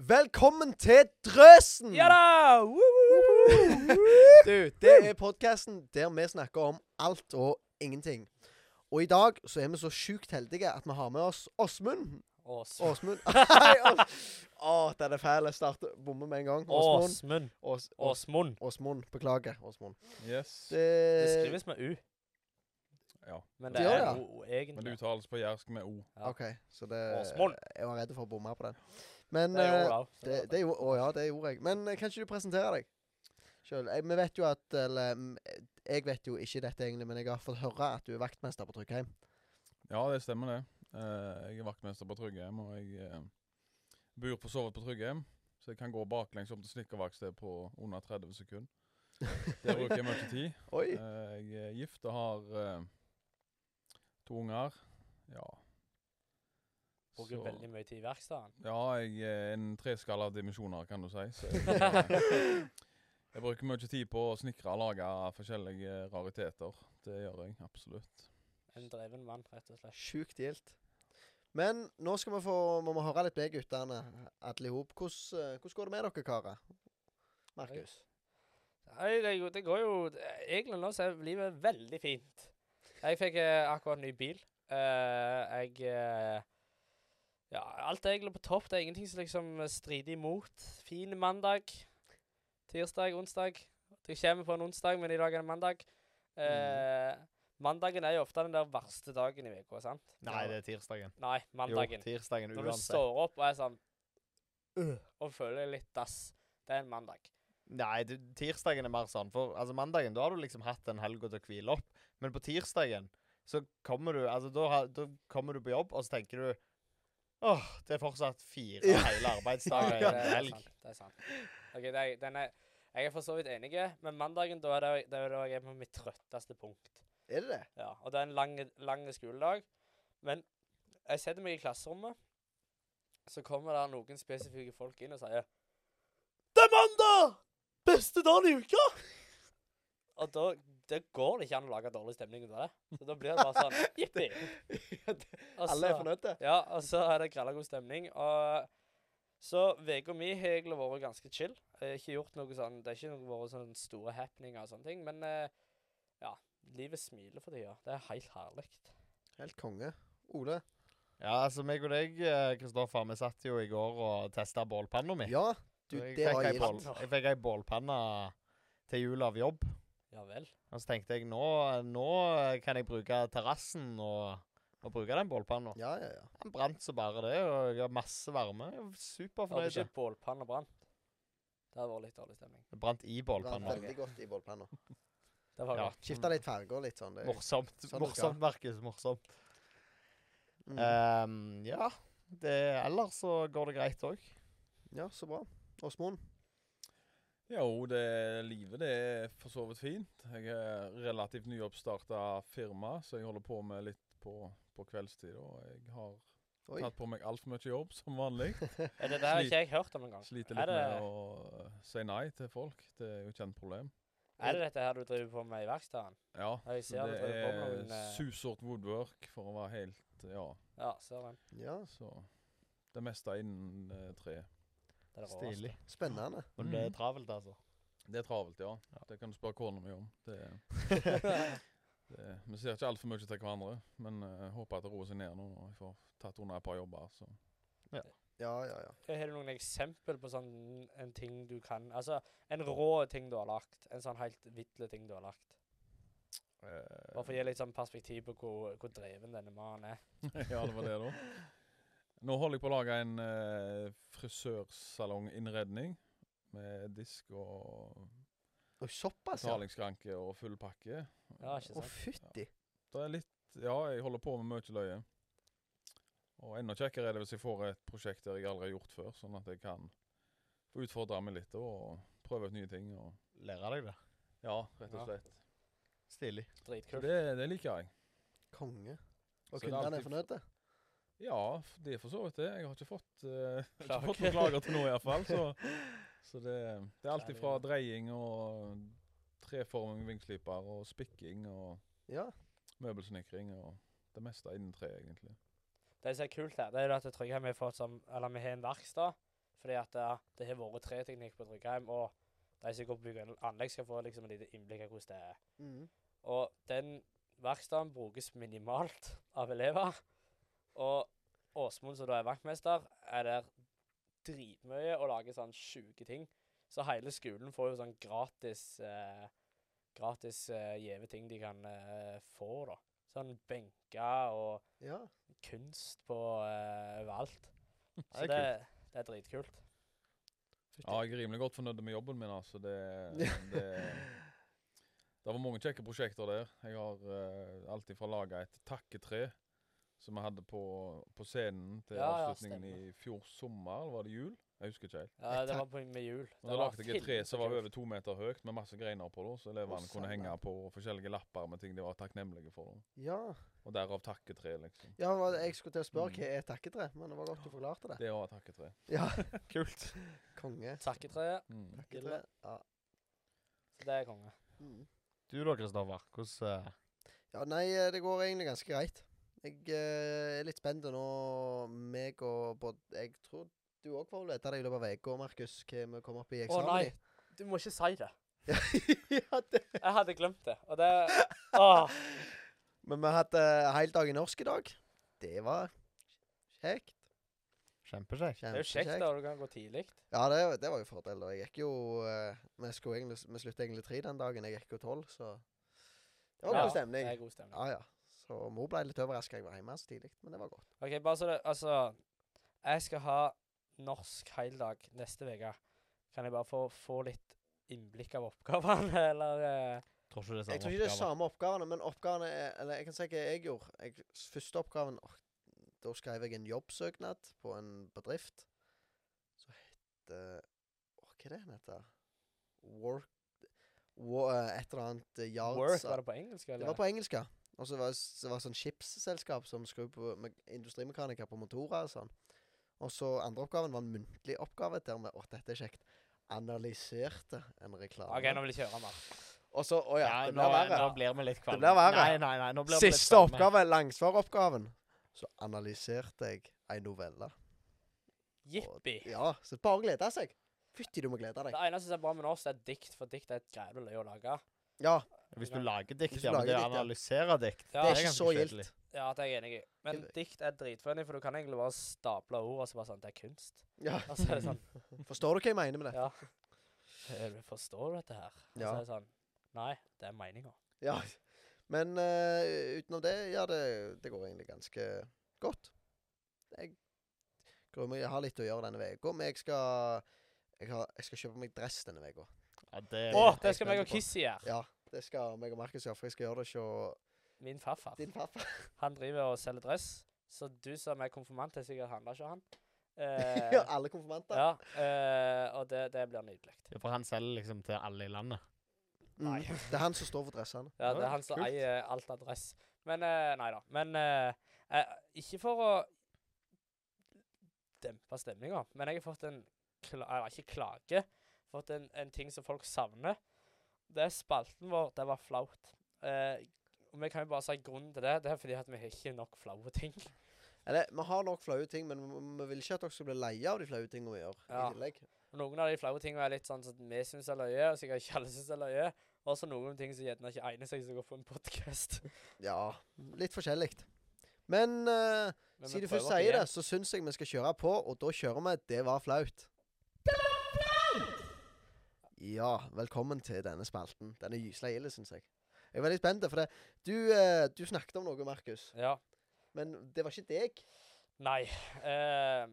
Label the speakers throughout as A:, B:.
A: Velkommen til Drøsen!
B: Ja da! Woo, woo, woo, woo.
A: Du, det er podkasten der vi snakker om alt og ingenting. Og i dag så er vi så sjukt heldige at vi har med oss Åsmund.
B: Ås-
A: Åsmund. Hei, Ås- Å, den er fæl. Jeg starter bommer med en gang. Åsmund. Eh,
B: Åsmund.
A: Ås- Ås-
B: Åsmund.
A: Åsmund. Beklager, Åsmund.
C: Yes.
B: Det
A: Det
B: skrives med U,
C: Ja.
B: men
A: Det
B: det
A: gjør
B: er
A: det.
B: O
C: Men
B: egentlig.
C: det uttales på jærsk med O.
B: Ja.
A: OK, så det
B: Åsmund.
A: Jeg var redd for å bomme på den. Men
B: Det er
A: eh,
B: Olav. så
A: Det,
B: det-
A: det, gjorde- å ja, det gjorde jeg. Men eh, kan ikke du presentere deg sjøl? Vi vet jo at Eller mm, jeg vet jo ikke dette egentlig, men jeg har fått høre at du er vaktmester på Tryggheim.
C: Ja, det stemmer det. Eh, jeg er vaktmester på Tryggheim, og jeg eh, bor for så vidt på Tryggheim. Så jeg kan gå baklengs opp til snekkerverkstedet på under 30 sekunder. Der bruker jeg mye tid.
A: Oi!
C: Eh, jeg er gift og har eh, to unger. Ja.
B: Bruker veldig mye tid i verkstedet.
C: Ja, jeg er en treskala av dimensjoner, kan du si. Så jeg, eh, jeg bruker mye tid på å snekre og lage forskjellige rariteter. Det gjør jeg absolutt.
B: En dreven mann, rett og slett.
A: Sjukt gildt. Men nå skal vi få må vi høre litt med guttene, alle i hop. Hvordan eh, hvordan går det med dere karer? Markus?
B: Nei, det, går- det går jo eh, Egentlig nå så er livet veldig fint. Jeg fikk eh, akkurat ny bil. Eh, jeg eh, Ja, alt er egentlig på topp. Det er ingenting som liksom strider imot. Fin mandag. Tirsdag, onsdag. Det kommer på en onsdag, men i dag er det mandag. Eh,
D: Mm.
B: Mandagen er jo ofte den der verste dagen i uka, sant?
D: Nei, det er tirsdagen.
B: Nei, mandagen.
D: Jo, tirsdagen
B: Når du
D: uansett.
B: står opp og er sånn øh, og føler deg litt dass. Det er en mandag.
D: Nei, du, tirsdagen er mer sånn. For altså, mandagen da har du liksom hatt en helg til å hvile opp. Men på tirsdagen så kommer du altså, da, har- da kommer du på jobb, og så tenker du Åh, det er fortsatt fire
A: Ja.
D: hele arbeidsdager
B: Ja,
D: igjen
B: det er
D: til helg.
B: sant, Det er sant. Ok, det er, den er, jeg er for så vidt enig, men mandagen da er det, det er da jeg er på mitt trøtteste punkt.
A: Er det det?
B: Ja, og det er en lang, lang skoledag. Men jeg setter meg i klasserommet, så kommer det noen spesifikke folk inn og sier Det er mandag! Beste dagen i uka! Og da det går det ikke an å lage dårlig stemning ut av det. Så da blir det bare sånn jippi. Og
A: Alle er
B: så-
A: fornøyde?
B: ja, og så er det grella god stemning. Og så uka mi har egentlig vært ganske chill. Jeg har ikke gjort noe sånn Det har ikke noe vært sånn store happeninger og sånne ting, men eh, ja. Livet smiler for tida. Det er helt herlig.
A: Helt konge. Ole?
D: Ja, altså meg og deg, eh, Kristoffer, vi satt jo i går og testa bålpanna mi.
A: Ja, du,
D: Og jeg
A: det
D: fikk
A: var
D: ei
A: gildt.
D: bål- Jeg fikk ei bålpanne til jul av jobb.
B: Ja vel.
D: Og så tenkte jeg nå, nå kan jeg bruke terrassen og, og bruke den bålpanna.
A: Ja, ja, ja.
D: Den brant så bare det, og jeg har masse varme. Jeg er
B: Om
D: Superfornøyd.
B: ikke bålpanna brant. Det hadde vært litt dårlig stemning.
D: Det brant i
A: Brant
D: bålpanna.
A: veldig godt i bålpanna.
B: Det var
D: Ja.
B: godt.
C: Mm.
A: Skifta litt farger og litt sånn. Det,
D: Morsomt.
A: Sånn
D: Morsomt, Markus. Morsomt.
A: mm.
D: Ehm, ja. Det, ellers så går det greit òg.
A: Ja, så bra. Åsmund?
C: Jo, det, livet det er for så vidt fint. Jeg er relativt nyoppstarta firma, så jeg holder på med litt på, på kveldstid. Og jeg har
A: Oi.
C: tatt på meg altfor mye jobb, som vanlig.
B: Er det der har
C: Slit-
B: ikke jeg hørt om engang?
C: Sliter
B: Er
C: litt
B: det-
C: med å eh, si nei til folk. Det er jo et kjent problem.
B: Er det dette her du driver på med i verkstedet?
C: Ja,
B: Ja, jeg ser
C: men
B: det
C: det
B: driver på med
C: er
B: noen, eh,
C: susort woodwork, for å være helt Ja,
B: Ja, ser en.
A: Ja,
C: så Det meste er innen eh, tre.
B: Det er det råeste.
D: Stilig.
A: spennende.
D: Men det
C: Mhm.
D: er travelt, altså.
C: Det er travelt, ja. Det kan du spørre kona mi om. Det, det, vi ser ikke altfor mye til hverandre, men eh, håper at det roer seg ned nå når jeg får tatt unna et par jobber. Så.
A: Ja, ja, ja.
B: Har du noen eksempel på sånn en ting du kan Altså en rå ting du har lagt. En sånn helt vidle ting du har lagt.
C: Eh,
B: Bare for å gi litt sånn perspektiv på hvor, hvor dreven denne mannen er.
C: ja, det var det, da. Nå holder jeg på å lage en eh, frisørsalonginnredning med disk og
A: Oi, såpass, ja.
C: betalingsskranke og full pakke.
B: Ja, ikke
A: Å,
B: sant?
A: fytti.
C: Det er litt Ja, jeg holder på med mye løye. Og enda kjekkere er det hvis jeg får et prosjekt der jeg aldri har gjort før, sånn at jeg kan få utfordre meg litt da, og prøve ut nye ting. og
D: Lære deg det.
C: Ja, rett
B: Ja.
C: og slett.
D: Stilig.
C: Så
B: Dritkult.
C: det, det liker jeg.
A: Konge. Og
C: Så det er
A: kundene er
C: alltid-
A: fornøyde?
C: Ja, f- det er for så vidt det. Jeg har ikke fått, eh, jeg har
B: Klager.
C: ikke fått noen klager til nå i hvert fall. Så, så det, det er alt
B: Klager.
C: ifra dreying og treforming, vingsliper og spikking og
A: Ja.
C: møbelsnekring og det meste innen tre, egentlig.
B: Det som er kult her, det er jo at Tryggheim har fått som Eller vi har en verksted. Fordi at eh, det har vært tre teknikk på Tryggheim, og de som går på bygg og anlegg, skal få liksom et lite innblikk av hvordan det er.
A: Mm.
B: Og den verkstaden brukes minimalt av elever. Og Åsmund, som da er vaktmester, er der dritmye og lager sånn sjuke ting. Så hele skolen får jo sånn gratis eh, gratis eh, gjeve ting de kan eh, få, da. Sånn benker og
A: Ja.
B: kunst på eh, overalt. Så
D: er
B: det, det er dritkult.
C: Ja, jeg er rimelig godt fornøyd med jobben min, altså. Det, det, det var mange kjekke prosjekter der. Jeg har eh, alltid fra laga et takketre som vi hadde på, på scenen til
B: Ja, ja,
C: avslutningen i fjor sommer, eller var det jul? Jeg husker ikke helt.
B: Ja,
A: Et
B: det var på, med jul.
C: Men da lagde jeg et tre som var
B: filmkult.
C: over to meter høyt, med masse greiner på det, så elevene
A: Å,
C: kunne
A: sann,
C: henge
A: ja.
C: på forskjellige lapper med ting de var takknemlige for. da.
A: Ja,
C: Og derav takketre, liksom.
A: ja hva- jeg skulle til å spørre
C: Mm.
A: hva er takketre, men det var godt du forklarte det.
C: Det var et takketre.
A: Ja,
D: Kult.
A: konge.
B: Takketreet.
C: Mm.
A: Takketre. Ja.
B: Så det er konge.
A: Mm.
D: Du da, Kristoffer. Hvordan eh,
A: ja, nei, eh, det går egentlig ganske greit. Jeg eh, er litt spent og nå. Meg og både Jeg tror du òg får vite det i løpet av uka, Markus, hva vi kommer opp i
B: Å
A: eksamen
B: nei,
A: i.
B: du må ikke si det.
A: ja, det.
B: Jeg hadde glemt det. Og det Åh.
A: Men vi hadde eh, heldag i norsk i dag. Det var kjekt.
D: Kjempekjekt.
B: Det er jo kjekt, da. Du kan gå tidlig.
A: Ja, det, det var jo fordel. da. Jeg gikk jo eh, Vi, skulle egentlig, vi sluttet egentlig tre den dagen. Jeg gikk jo tolv, så Det var
B: Ja,
A: god stemning.
B: Det er god stemning.
A: Ja, ja. Så mor ble litt overraska jeg var hjemme så tidlig, men det var godt.
B: OK, bare så det Altså, jeg skal ha norsk heldag neste uke. Kan jeg bare få, få litt innblikk av oppgavene, eller eh,
D: Tror ikke det er
A: Jeg tror ikke det er samme oppgavene, men oppgavene er Eller jeg kan si hva jeg gjorde. Jeg, s- første oppgaven åh, Da skrev jeg en jobbsøknad på en bedrift som heter åh, Hva er det den heter? Work Wa- Et eller annet eh, yards
B: Work? Var det på engelsk,
A: Det
B: eller?
A: var på engelsk, ja. Og så var s- det var sånn skipsselskap som skrur på med industrimekanikere på motorer og sånn. Og så andre oppgaven var en muntlig oppgave der vi Å, dette er kjekt. Analyserte en reklame.
B: OK, nå vil jeg kjøre, mann.
A: Og så Å ja,
D: Ja,
A: det
D: nå,
A: blir verre.
D: nå blir vi litt kvalme.
A: blir verre.
D: Nei, nei, nei, nå blir vi litt
A: Siste
D: kvalme.
A: oppgave, langsvaroppgaven. Så analyserte jeg ei novelle.
B: Jippi.
A: Ja, så bare glede seg. Fytti, du må glede deg.
B: Det eneste som er bra med norsk, er dikt, for dikt er et jævlig løye å lage.
A: Ja,
D: Hvis du lager dikt,
A: Hvis du
D: ja. Men
A: lager
D: det å
A: dikt, ja.
D: analysere dikt
B: Ja,
A: det
B: det
A: er ikke
D: ganske
A: så
D: kjedelig.
A: gildt.
B: Ja, det er jeg enig i. Men
A: Jeg-
B: dikt er dritfunny, for du kan egentlig bare stable ord, og så bare sånn Det er kunst.
A: Ja.
B: Og så er det sånn
A: Forstår du hva jeg mener med det?
B: Ja. Eh, du Forstår du dette her? Og
A: Ja.
B: så er det sånn Nei, det er meninga.
A: Ja. Men eh, utenom det, ja, det, det går egentlig ganske godt. Jeg gruer meg. Jeg har litt å gjøre denne uka, men jeg skal, jeg, har, jeg skal kjøpe meg dress denne uka.
D: Ja, det
A: er
B: Å,
A: jeg
B: det skal
A: spent
B: meg og
A: på.
B: Kissi gjøre.
A: Ja, det skal meg og Markus gjøre, for jeg skal gjøre det hos
B: Min farfar.
A: din pappa.
B: Han driver og selger dress, så du som er konfirmant, har sikkert handla hos han. Eh,
A: Ja, Alle konfirmanter.
B: ja, eh, og det, det blir nydelig.
D: Ja, For han selger liksom til alle i landet.
B: Nei.
A: Mm. Det er han som står for dressene.
B: Ja,
C: Ja,
B: det er han som
C: kult.
B: eier alt av dress. Men eh, Nei da. Men eh, eh, ikke for å dempe stemninga, men jeg har fått en kla Eller ikke klage. Fått en, en ting som folk savner. Det er spalten vår. Det var flaut. Eh, og vi kan jo bare si grunnen til det. Det er fordi at vi har ikke nok flaue ting.
A: Eller, vi har nok flaue ting, men vi- vi vil ikke at dere skal bli lei av de flaue tingene vi gjør.
B: Ja.
A: i tillegg.
B: Noen av de flaue tingene er litt sånn som vi syns er løye, og sikkert ikke alle syns er løye. Og så noen ting som gjerne ikke egner seg til å gå på en podkast.
A: Ja, litt forskjellig. Men eh, siden du først sier det, så syns jeg vi skal kjøre på, og da kjører vi 'Det var flaut'. Ja, velkommen til denne spalten. Den er gysla ille, syns jeg. Jeg er veldig spent, for det. Du, eh, du snakket om noe, Markus.
B: Ja.
A: Men det var ikke deg.
B: Nei. eh,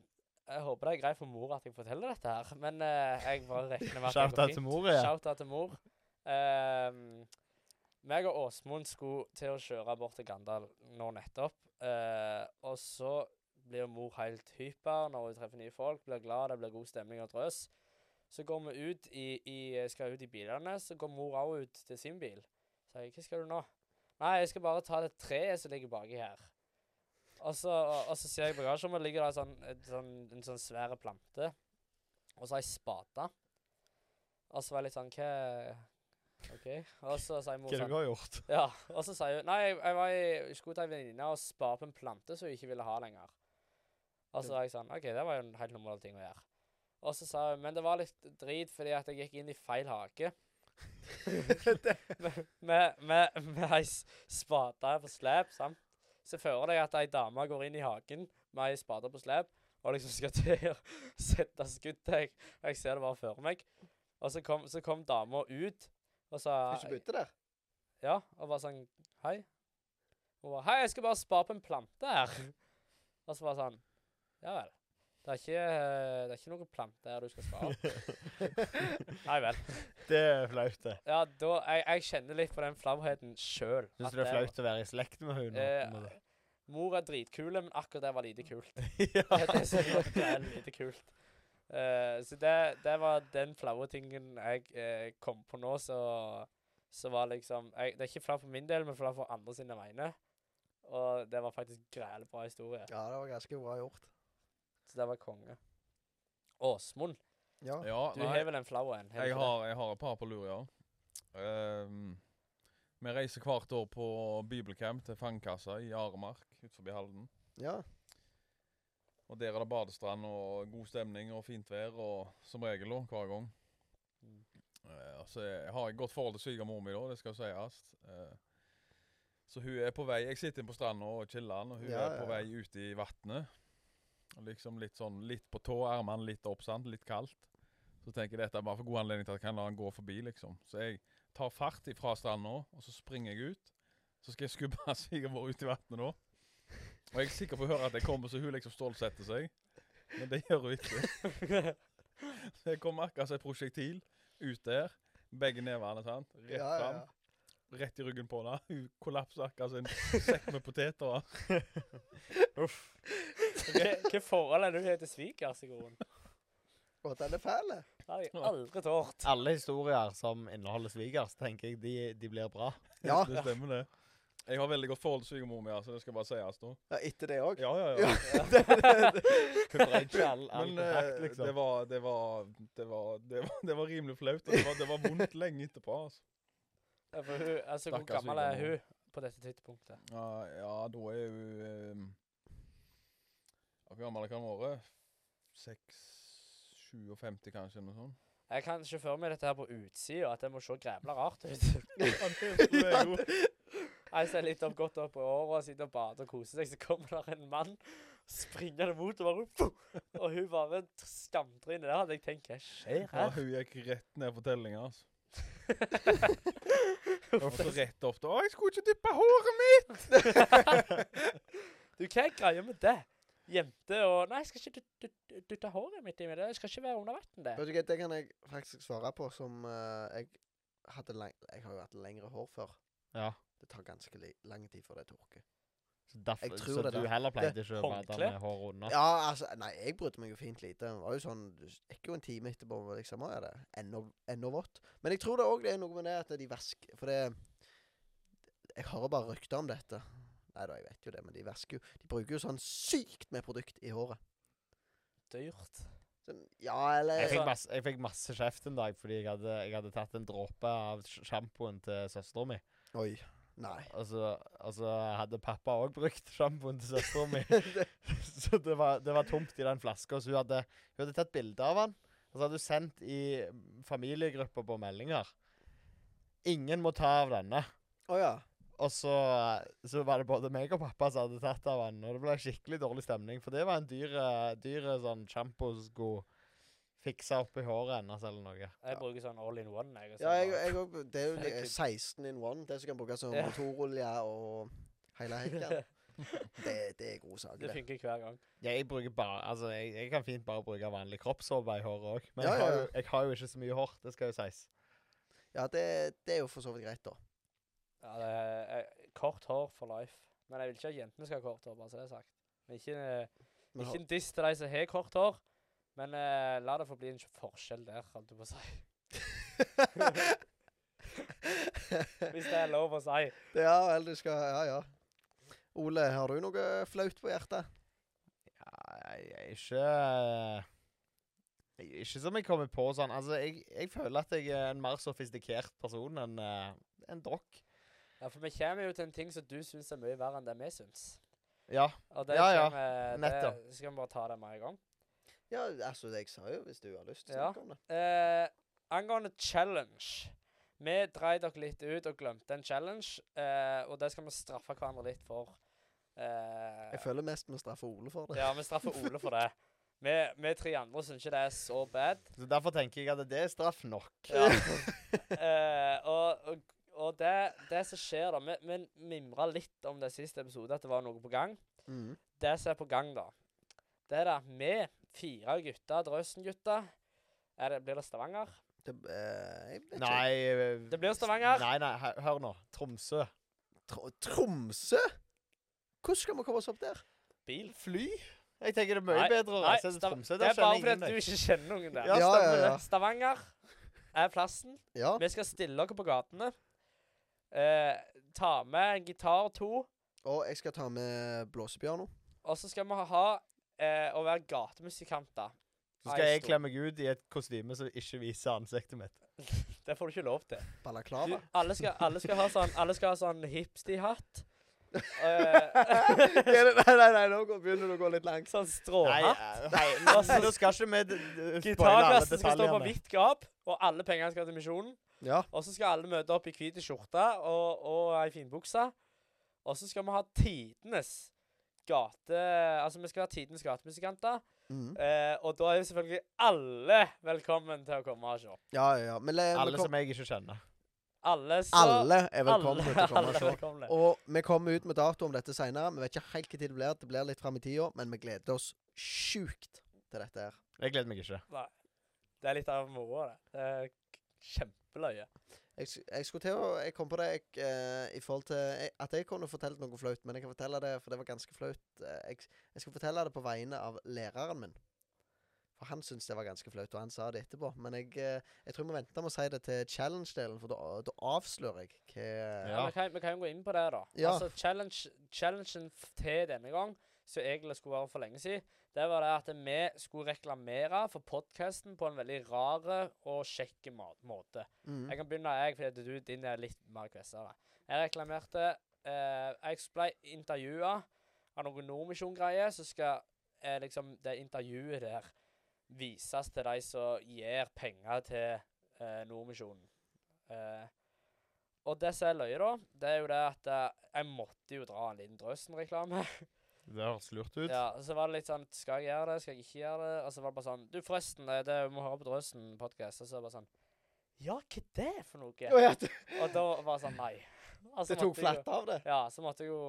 B: jeg håper det er greit for mor at jeg forteller dette her, men eh, jeg bare regner med at det
D: Shout
B: går
D: out
B: fint.
D: til mor, ja.
B: Shout-out til mor. Ehm, meg og Åsmund skulle til å kjøre bort til Gandal nå nettopp. eh, og så blir mor helt hyper når hun treffer nye folk, blir glad, det blir god stemning og drøs. Så går vi ut i, i skal ut i bilene, så går mor òg ut til sin bil. Så jeg, hva skal du nå? Nei, jeg skal bare ta det treet som ligger baki her. Og så, og, og så ser jeg i bagasjerommet ligger det en sånn, et sånn, en sånn svær plante. Og så har jeg spade. Og så var jeg litt sånn Hva OK. Og så sier mor
D: Hva
B: sånn
D: du har gjort?
B: ja, og så sier hun Nei, jeg, jeg, var i, jeg skulle til ei venninne og spare på en plante som hun ikke ville ha lenger. Og så var jeg sånn OK, det var jo en helt normal ting å gjøre. Og så sa hun Men det var litt drit fordi at jeg gikk inn i feil hage. med med, med, med ei s- spade på slep, sant. Se for deg at ei dame går inn i hagen med ei spade på slep, og liksom skal til å sette skudd til jeg. Jeg ser det bare for meg. Og så kom, så kom dama ut, og sa
A: Hun som bodde der?
B: ja, og bare sånn Hei. Hun bare Hei, jeg skal bare spare på en plante her. Og så bare sånn Ja vel. Det er ikke, eh, det er ikke noen plante her du skal spare. Nei vel.
D: Det er flaut, det.
B: Ja, da Jeg, jeg kjenner litt på den flauheten sjøl.
D: Syns du det er flaut å være i slekt med
B: Eh,
D: henne?
B: Mor er dritkule, men akkurat det var lite kult.
D: ja.
B: Det er så godt, det er lite kult. Eh, så det, det var den flaue tingen jeg eh, kom på nå, så, så var liksom jeg, Det er ikke flaut for min del, men flaut for andre sine vegne. Og det var faktisk greit bra historie.
A: Ja, det var ganske bra gjort.
B: Så det var konge. Åsmund,
A: Ja.
C: Ja,
B: du
C: Ah, nei,
B: har vel en flau en?
C: jeg har, jeg har et par på lur, ja. Ehm, vi reiser hvert år på bibelcamp til Fangkassa i Aremark utenfor Halden.
A: ja.
C: Og der er det badestrand og god stemning og fint vær, og som regel da, hver gang.
B: Mm.
C: Eh, altså, jeg har et godt forhold til svigermor mi, da, det skal sies. Eh, så hun er på vei Jeg sitter inne på stranda og chiller'n, og hun
A: Ja,
C: er på
A: ja, ja.
C: vei ut i vannet. Liksom litt sånn litt på tå, ermene litt opp, sant? Litt kaldt. Så tenker jeg dette er bare for god anledning til at jeg kan la han gå forbi, liksom. Så jeg tar fart ifra stranda, og så springer jeg ut. Så skal jeg skubbe svigermor ut i vannet nå. Og jeg er sikker på å høre at jeg kommer, så hun liksom stålsetter seg. Men det gjør hun ikke. Så jeg kommer akkurat som et prosjektil ut der. Begge nevene, sant. Rett
A: Ja, ja,
C: fram.
A: ja.
C: Rett i ryggen på henne. Hun kollapser akkurat som en sekk med poteter.
B: Hvilket forhold er det du har til svigers, Sigrun?
A: Og den er fæl.
B: Det har jeg aldri tålt.
D: Alle historier som inneholder svigers, tenker jeg de, de blir bra.
A: Ja.
C: Det stemmer, det. Jeg har veldig godt forhold til svigermor mi, altså. Det skal bare sies nå.
A: ja. Etter det òg.
C: Ja, ja, ja.
D: Kutter ikke all, all
C: Men
D: kontakt,
C: eh,
D: liksom.
C: det, var, det, var, det, var, det, var, det var rimelig flaut. Og det var, det var vondt lenge etterpå. altså.
B: Ja, For hun, altså, hvor
C: Stakkars
B: gammel er
C: svigermor.
B: hun på dette tidspunktet?
C: Ja, ja da er hun eh, Hvor gammel kan hun være? 56, kanskje? Noe sånt.
B: Jeg kan ikke føre meg dette her på utsida, at det må se grævla rart ut. Jeg ser litt opp godt opp i året og sitter og bader og koser seg, så kommer der en mann springende mot og bare «Puh!» Og hun bare t- skamtrynet der. Hadde jeg tenkt hva skjer
C: Ja,
B: her?
C: hun gikk rett ned på tellinga. Altså. Og så rett opp til 'Å, jeg skulle ikke dyppe håret mitt!'
B: Du, hva er greia med det? Jente og Nei, jeg skal ikke dyt- dyt- dytte håret mitt i meg. Det skal ikke være under vann, det.
A: Vet du hva, det kan jeg faktisk svare på, som eh, jeg hadde lang Jeg har jo hatt lengre hår før.
D: Ja.
A: Det tar ganske li lang tid før det tørker.
D: Så, derfor,
A: Jeg tror
D: så
A: det
D: du
A: der-
D: heller pleide ikke å bade
B: Håndkle?
D: med håret unna?
A: Ja, altså Nei, jeg brydde meg jo fint lite. Det var jo sånn Det gikk jo en time etterpå, og liksom. «Å, Er det ennå ennå vått? Men jeg tror det òg er noe med det at de vasker For det Jeg hører bare rykter om dette. Nei da, jeg vet jo det, men de vasker jo De bruker jo sånn sykt med produkt i håret.
B: Dyrt.
A: Sånn, ja, eller
D: Jeg fikk,
B: Altså-
D: masse, jeg fikk masse kjeft en dag fordi jeg hadde, jeg hadde tatt en dråpe av sj- sjampoen til søstera mi.
A: Oi. Nei.
D: Og så og så Altså, hadde pappa òg brukt sjampoen til søstera mi. så det var, det var tomt i den flaska. Så hun hadde, hun hadde tatt bilde av den. Og så hadde hun sendt i familiegruppa på meldinger. Ingen må ta av denne.
A: Å ja.
D: Og så, så var det både meg og pappa som hadde tatt av den. Og det ble skikkelig dårlig stemning, for det var en dyr, eh, dyr eh, sånn sjampo som skulle fikse opp i håret hennes eller noe.
B: Jeg
A: Ja.
B: bruker sånn all in one. Jeg, og sånn. så
A: Ja, jeg,
B: bare-
A: jeg, òg- det er jo
B: Det er
A: det-
B: kult.
A: 16 in one. Det som kan brukes som
B: Ja.
A: motorolje og hele hekken. Det, det er god sak.
B: Det
A: Det.
B: funker hver gang.
D: Ja, jeg bruker bare Altså, jeg, jeg kan fint bare bruke vanlig kroppssåpe i håret òg. Men
A: Ja,
D: jeg, har
A: ja,
D: jo, jeg har jo ikke så mye hår. Det skal jo sies.
A: Ja, det, det er jo for så vidt greit, da.
B: Ja, det er, eh, kort hår for life. Men jeg vil ikke at jentene skal ha kort hår, bare så det er sagt. Men ikke, eh,
A: Men
B: ikke en diss til de som har kort hår. Men eh, la det få bli en forskjell der, holdt jeg på å si. Hvis det er lov å si.
A: Det- Ja vel, du skal Ja, ja. Ole, har du noe flaut på hjertet?
D: Ja, jeg, jeg er ikke jeg, er Ikke som jeg kommer på sånn. Altså, jeg, jeg føler at jeg er en mer sofistikert person enn eh, en dokk.
B: Ja, For vi kommer jo til en ting som du syns er mye verre enn det vi syns.
D: Ja.
B: Og det
D: Ja, ja,
B: kommer- eh,
D: nettopp.
B: Det skal vi bare ta det med en gang.
A: Ja, altså, jeg sa jo hvis du har lyst til å
B: Ja.
A: snakke om det.
B: Eh, angående challenge. Vi dreide dere litt ut og glemte en challenge, eh, og det skal vi straffe hverandre litt for. Eh,
A: Jeg føler mest vi straffer Ole for det.
B: ja, vi straffer Ole for det. Vi, vi tre andre syns ikke det er så bad.
D: Så Derfor tenker jeg at det er straff nok.
B: Ja. Eh, og og, og det, det som skjer, da Vi, vi mimra litt om det siste episode, at det var noe på gang.
A: Mhm.
B: det som er på gang, da, det er det at vi fire gutter, Drøsen-gutter er det, Blir det Stavanger?
A: Det, eh, jeg vet ikke.
D: Nei eh,
B: Det blir Stavanger.
D: Nei, nei, hø- hør nå. Tromsø.
A: Tr Tromsø? Hvordan skal vi komme oss opp der?
B: Bil?
D: Fly? Jeg tenker det er mye
B: Nei,
D: bedre å
B: nei,
D: reise til
B: Stav-
D: Tromsø.
B: Det
D: Der
B: er bare
D: kjenner
B: fordi
D: ingen
B: at du
D: deg.
B: ikke kjenner noen der.
D: Ja,
A: Ja,
D: stemmer
A: ja,
D: det.
A: ja.
B: Stavanger er plassen.
A: Ja.
B: Vi skal stille dere på gatene. Eh, ta med en gitar to.
A: Og jeg skal ta med blåsepiano.
B: Og så skal vi ha eh, å være gatemusikanter.
D: Så skal jeg
B: Nei,
D: kle meg ut i et kostyme som ikke viser ansiktet mitt.
B: Det får du ikke lov til.
A: Balaklava.
B: Alle skal, alle skal ha sånn, alle skal ha sånn hipsty-hatt. Eh,
A: nei, nei, nei, nei, nå går- begynner det å gå litt langt.
B: sånn
D: Nei,
B: stråhatt.
D: eh, nei, nå
B: Altså,
D: nå skal ikke vi d- d- spoile alle
B: Gitarklassen skal stå på
D: detaljene.
B: hvitt gap, og alle pengene skal til misjonen.
A: Ja.
B: Og så skal alle møte opp i hvit skjorte og, og ei finbukse. Og så skal vi ha tidenes gate... Altså, vi skal ha tidenes gatemusikanter.
A: Mhm.
B: Eh, og da er jo selvfølgelig alle velkommen til å komme og se.
A: Ja, ja, ja. Men le, vi
D: Alle
A: kom,
D: som jeg ikke kjenner.
B: Alle så
A: alle er velkomne
B: alle-
A: til å komme
B: alle
A: og se.
B: er velkomne.
A: Og vi kommer ut med dato om dette seinere. Vi vet ikke helt hva tid det blir. Det blir litt fram i tida, men vi gleder oss sjukt til dette her.
D: Jeg gleder meg ikke.
B: Det er litt av moroa, det. det. er k- Kjempeløye.
A: Jeg, sk- jeg skulle til å Jeg kom på det jeg, eh, i forhold til jeg, at jeg kunne fortalt noe flaut, men jeg kan fortelle det, for det var ganske flaut. Eh, jeg, jeg skal fortelle det på vegne av læreren min. For han syntes det var ganske flaut, og han sa det etterpå. Men jeg, eh, jeg tror vi venter med å si det til challenge-delen, for da, da avslører jeg hva
D: Ja.
B: Ja. Vi, kan, vi kan jo gå inn på det, da.
A: Ja.
B: Altså, challenge, Challengen f- til denne gang, som egentlig skulle være for lenge siden, det var det at vi skulle reklamere for podkasten på en veldig rar og kjekk ma- måte.
A: Mhm.
B: Jeg kan begynne, jeg, fordi at du din er litt mer kvessere. Jeg reklamerte eh, Jeg ble intervjua av noen Nordmisjon-greier, så skal eh, liksom det intervjuet der vises til de som gir penger til eh, Nordmisjonen. Eh, og det som er løye, da, det er jo det at eh, jeg måtte jo dra en liten Drøsen-reklame.
D: Det høres lurt ut.
B: Ja, og så var det litt sånn Skal jeg gjøre det? Skal jeg ikke gjøre det? Og så var det bare sånn Du, forresten, eh, det må høre på Drøsen podcast. Og så var det bare sånn Ja, hva er det for noe?
A: Å ja, det,
B: Og da var det sånn Nei. Altså,
A: det
B: måtte jeg
A: tok
B: jo-
A: flatt av det.
B: Ja, så måtte jeg jo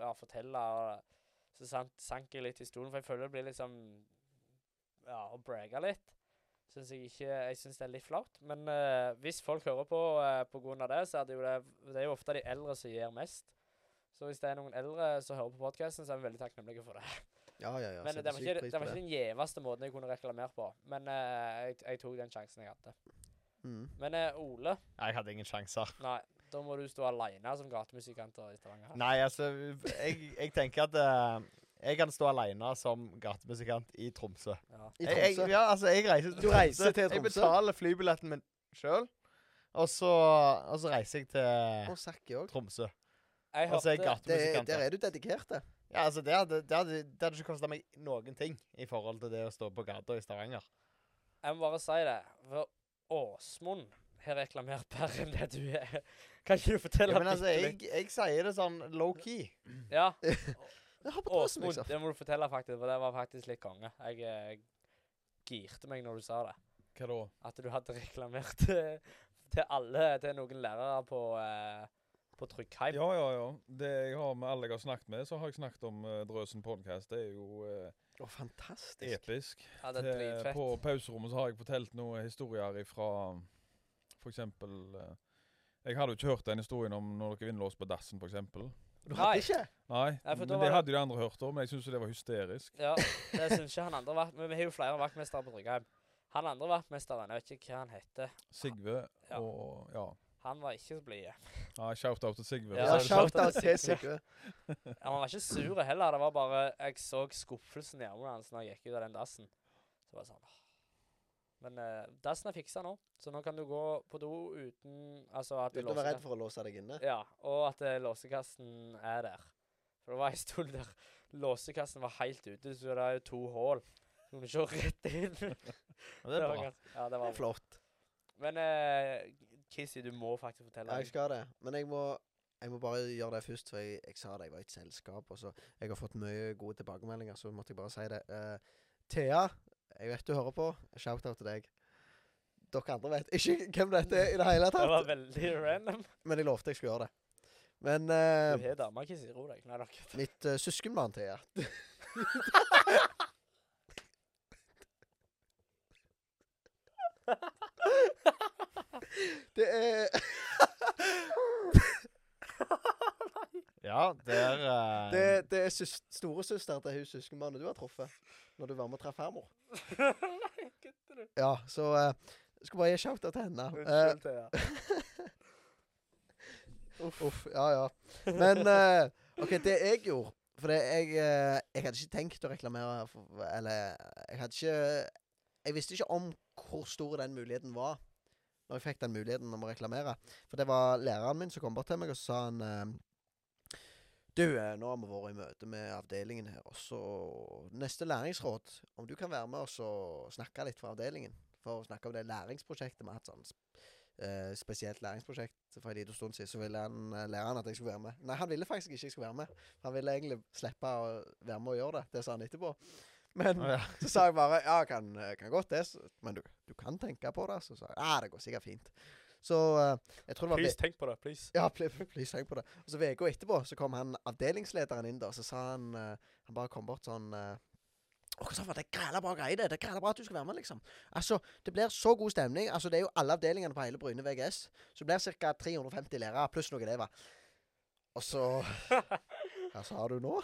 B: ja, fortelle, og så sant, sank jeg litt i stolen, for jeg føler det blir litt sånn Ja, å brage litt. Synes jeg ikke Jeg syns det er litt flaut. Men eh, hvis folk hører på eh, på grunn av det, så er det jo det Det er jo ofte de eldre som gir mest. Så hvis det er noen eldre som hører på podkasten, så er vi veldig takknemlige for det.
A: Ja, ja, ja.
B: Men det
A: setter
B: var,
A: sykt
B: ikke,
A: pris
B: det var
A: på
B: ikke den gjeveste måten jeg kunne reklamert på. Men eh, jeg, jeg tok den sjansen jeg hadde.
A: Mhm.
B: Men eh, Ole,
D: Jeg hadde ingen sjanser.
B: nei, da må du stå aleine som gatemusikant i Stavanger. her.
D: Nei, altså Jeg, jeg tenker at eh, jeg kan stå alene som gatemusikant i Tromsø.
B: Ja.
A: I
D: Jeg,
A: Tromsø.
D: jeg, ja, altså, jeg reiser til
A: Du reiser til
D: Jeg
A: Tromsø?
D: betaler flybilletten min sjøl, og, så- og så reiser jeg til
A: Og Sakki òg.
D: Tromsø.
B: Jeg
D: Og så er Altså, jeg
B: hørte,
D: gatemusikant.
A: Der
D: da.
A: er du dedikert, det.
D: Ja, altså, det hadde, det hadde, det hadde ikke kosta meg noen ting i forhold til det å stå på gata i Stavanger.
B: jeg må bare si det, for Åsmund har reklamert bedre enn det du er. Kan ikke du
D: Ja,
B: fortelle
D: men altså,
B: bitte
D: jeg, jeg sier det sånn low-key.
B: litt? Ja,
A: Jeg har på plassen,
B: Åsmund,
A: liksom.
B: det må du fortelle, faktisk, for det var faktisk litt konge. Jeg eh, girte meg når du sa det.
C: Hva da?
B: At du hadde reklamert eh, til alle, til noen lærere på, eh, på Tryggheim.
C: Ja, ja, ja. Det jeg har med alle jeg har snakket med, så har jeg snakket om eh, Drøsen podcast. Det er jo eh,
A: Å, fantastisk.
C: episk.
B: Ja, det er
C: Eh,
B: dritfett.
C: På pauserommet så har jeg fortalt noen historier ifra for eksempel eh, Jeg hadde jo ikke hørt den historien om når dere innlåst på dassen, for eksempel.
A: Du hadde
B: Nei.
A: ikke?
C: Nei,
B: Nei, for da
C: men
B: var
C: det
B: det-
C: hadde jo de andre hørt om. Men jeg syns det var hysterisk.
B: Ja, det syns ikke han andre vakt... Men vi har jo flere vaktmestere på Tryggheim. Han andre vaktmesteren, jeg vet ikke hva han heter,
C: Sigve
B: Ja.
C: og Ja.
B: han var ikke så blid.
C: Nei, Shout-out til Sigve.
A: Ja,
B: Ja,
A: shout-out til Sigurd.
B: Han var ikke sur heller, det var bare Jeg så skuffelsen i armene hans når jeg gikk ut av den dassen. Så var det sånn «Åh». Men eh, dassen er fiksa nå, så nå kan du gå på do uten Altså at
A: Uten å være
B: låseka-
A: redd for å låse deg inne.
B: Ja, og at eh, låsekassen er der. For det var en stund der låsekassen var helt ute, så det er jo to hull. Så kunne du se rett inn. det
D: Og det er
B: var
D: bra.
B: gans- Ja, det var bra.
A: Flott.
B: Men eh, Kissy, du må faktisk fortelle.
A: Ja, jeg
B: meg.
A: skal det. Men jeg må, jeg må bare gjøre det først, for jeg, jeg sa det, jeg var i et selskap. Og så Jeg har fått mye gode tilbakemeldinger, så måtte jeg bare si det. Eh, Thea, jeg vet du hører på. Shout-out til deg. Dere andre vet ikke hvem dette er i det hele
B: Det var
A: tatt,
B: veldig random.
A: men jeg lovte jeg skulle gjøre det. Men
B: Du
A: eh,
B: har dame, Kissy. Ro deg. Nei, dere.
A: mitt uh, søskenbarn Thea Det er
D: Ja, det er eh,
A: Det, det er søs- storesøster til hun søskenbarnet du har truffet. Når du var med og traff farmor.
B: Nei, gutter du.
A: Ja, så eh, jeg skal bare gi shout-out til henne. Eh,
B: Unnskyld, Thea.
A: Uff, ja ja. Men eh, OK, det jeg gjorde For det jeg, eh, jeg hadde ikke tenkt å reklamere for, Eller jeg hadde ikke Jeg visste ikke om hvor stor den muligheten var når jeg fikk den muligheten om å reklamere. For det var læreren min som kom bort til meg, og så sa han eh, Du, eh, nå har vi vært i møte med avdelingen her, og så Neste læringsråd, om du kan være med oss og snakke litt for avdelingen. For å snakke om det læringsprosjektet vi har hatt sånn eh, spesielt læringsprosjekt for en liten stund siden, så ville han, eh, læreren at jeg skulle være med. Nei, han ville faktisk ikke jeg skulle være med. Han ville egentlig slippe å være med og gjøre det. Det sa han etterpå. Men
D: ja.
A: så sa jeg bare ja, kan, kan godt det, så- men du, du kan tenke på det. Så sa jeg ja, det går sikkert fint. Så eh, jeg tror det var
B: Please, tenk på det. Please.
A: ja, ble, ble slengt på det. Og så uka etterpå så kom han avdelingslederen inn, da, så sa han eh, Han bare kom bort sånn eh, Å, hva sa han? Det er græla bra greie, det. Det er græla bra at du skal være med, liksom. Altså, det blir så god stemning. Altså, det er jo alle avdelingene på hele Bryne VGS. Så det blir ca. 350 lærere pluss noen elever. Og så Hva sa du nå?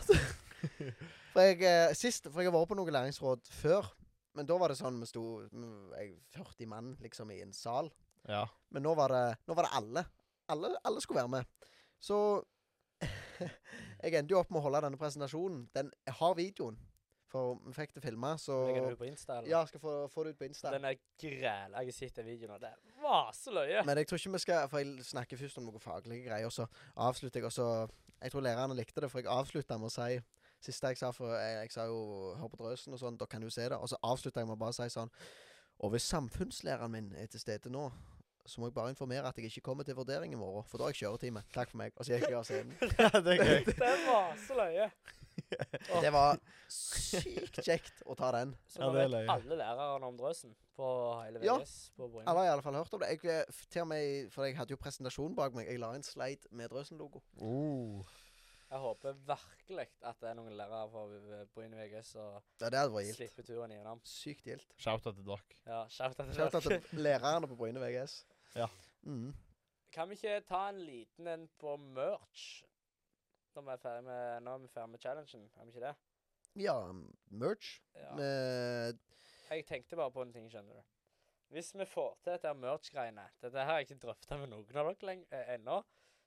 A: for jeg eh, Sist For jeg har vært på noen læringsråd før. Men da var det sånn vi sto mm, jeg- 40 mann liksom i en sal.
D: ja.
A: Men nå var det, nå var det alle. alle. Alle skulle være med. Så jeg endte jo opp med å holde denne presentasjonen. Den jeg har videoen, for vi fikk det filma, så
B: Legger du på Insta, eller?
A: Ja, skal få, få det ut på Insta.
B: Den er græl. Jeg har sett den videoen, og det var så løye.
A: Men jeg tror ikke vi skal For jeg snakker først om noen faglige greier, og så avslutter jeg, og så Jeg tror lærerne likte det, for jeg avslutta med å si Siste jeg sa, for jeg, jeg sa jo 'hør på drøsen' og sånn, dere kan jo se det, og så avslutta jeg med å bare si sånn Og hvis samfunnslæreren min er til stede nå, så må jeg bare informere at jeg ikke kommer til vurdering i morgen, for da har jeg kjøretime. Takk for meg. Og så gikk jeg av scenen.
D: det er gøy.
B: Den var så løye.
A: Det var sykt kjekt å ta den.
B: Så
D: Ja,
B: nå
D: det er
B: vet
D: løye.
B: alle lærerne om drøsen på hele
A: Ja.
B: VGS på Bryne.
A: Alle har i alle fall hørt om det. Jeg, eh, f- til og med, for jeg hadde jo presentasjon bak meg. Jeg la en slide med Drøsen-logo.
D: Uh.
B: Jeg håper virkelig at det er noen lærere fra V- Bryne VGS som
A: Ja, det hadde vært gildt.
B: slipper turen gjennom.
A: Sykt gildt.
D: Shout-out til dere.
B: Ja, shout-out til
A: Shout-out
B: dere.
A: til lærerne på Bryne VGS.
D: Ja.
A: Mm.
B: Kan vi ikke ta en liten en på merch? Når vi er ferdig med, når vi er ferdig med challengen, er vi ikke det?
A: Ja, m- merch. Eh,
B: Ja.
A: Med
B: Jeg tenkte bare på en ting, skjønner du. Hvis vi får til dette her merch-greiene Dette her har jeg ikke drøfta med noen av dere leng- eh, ennå,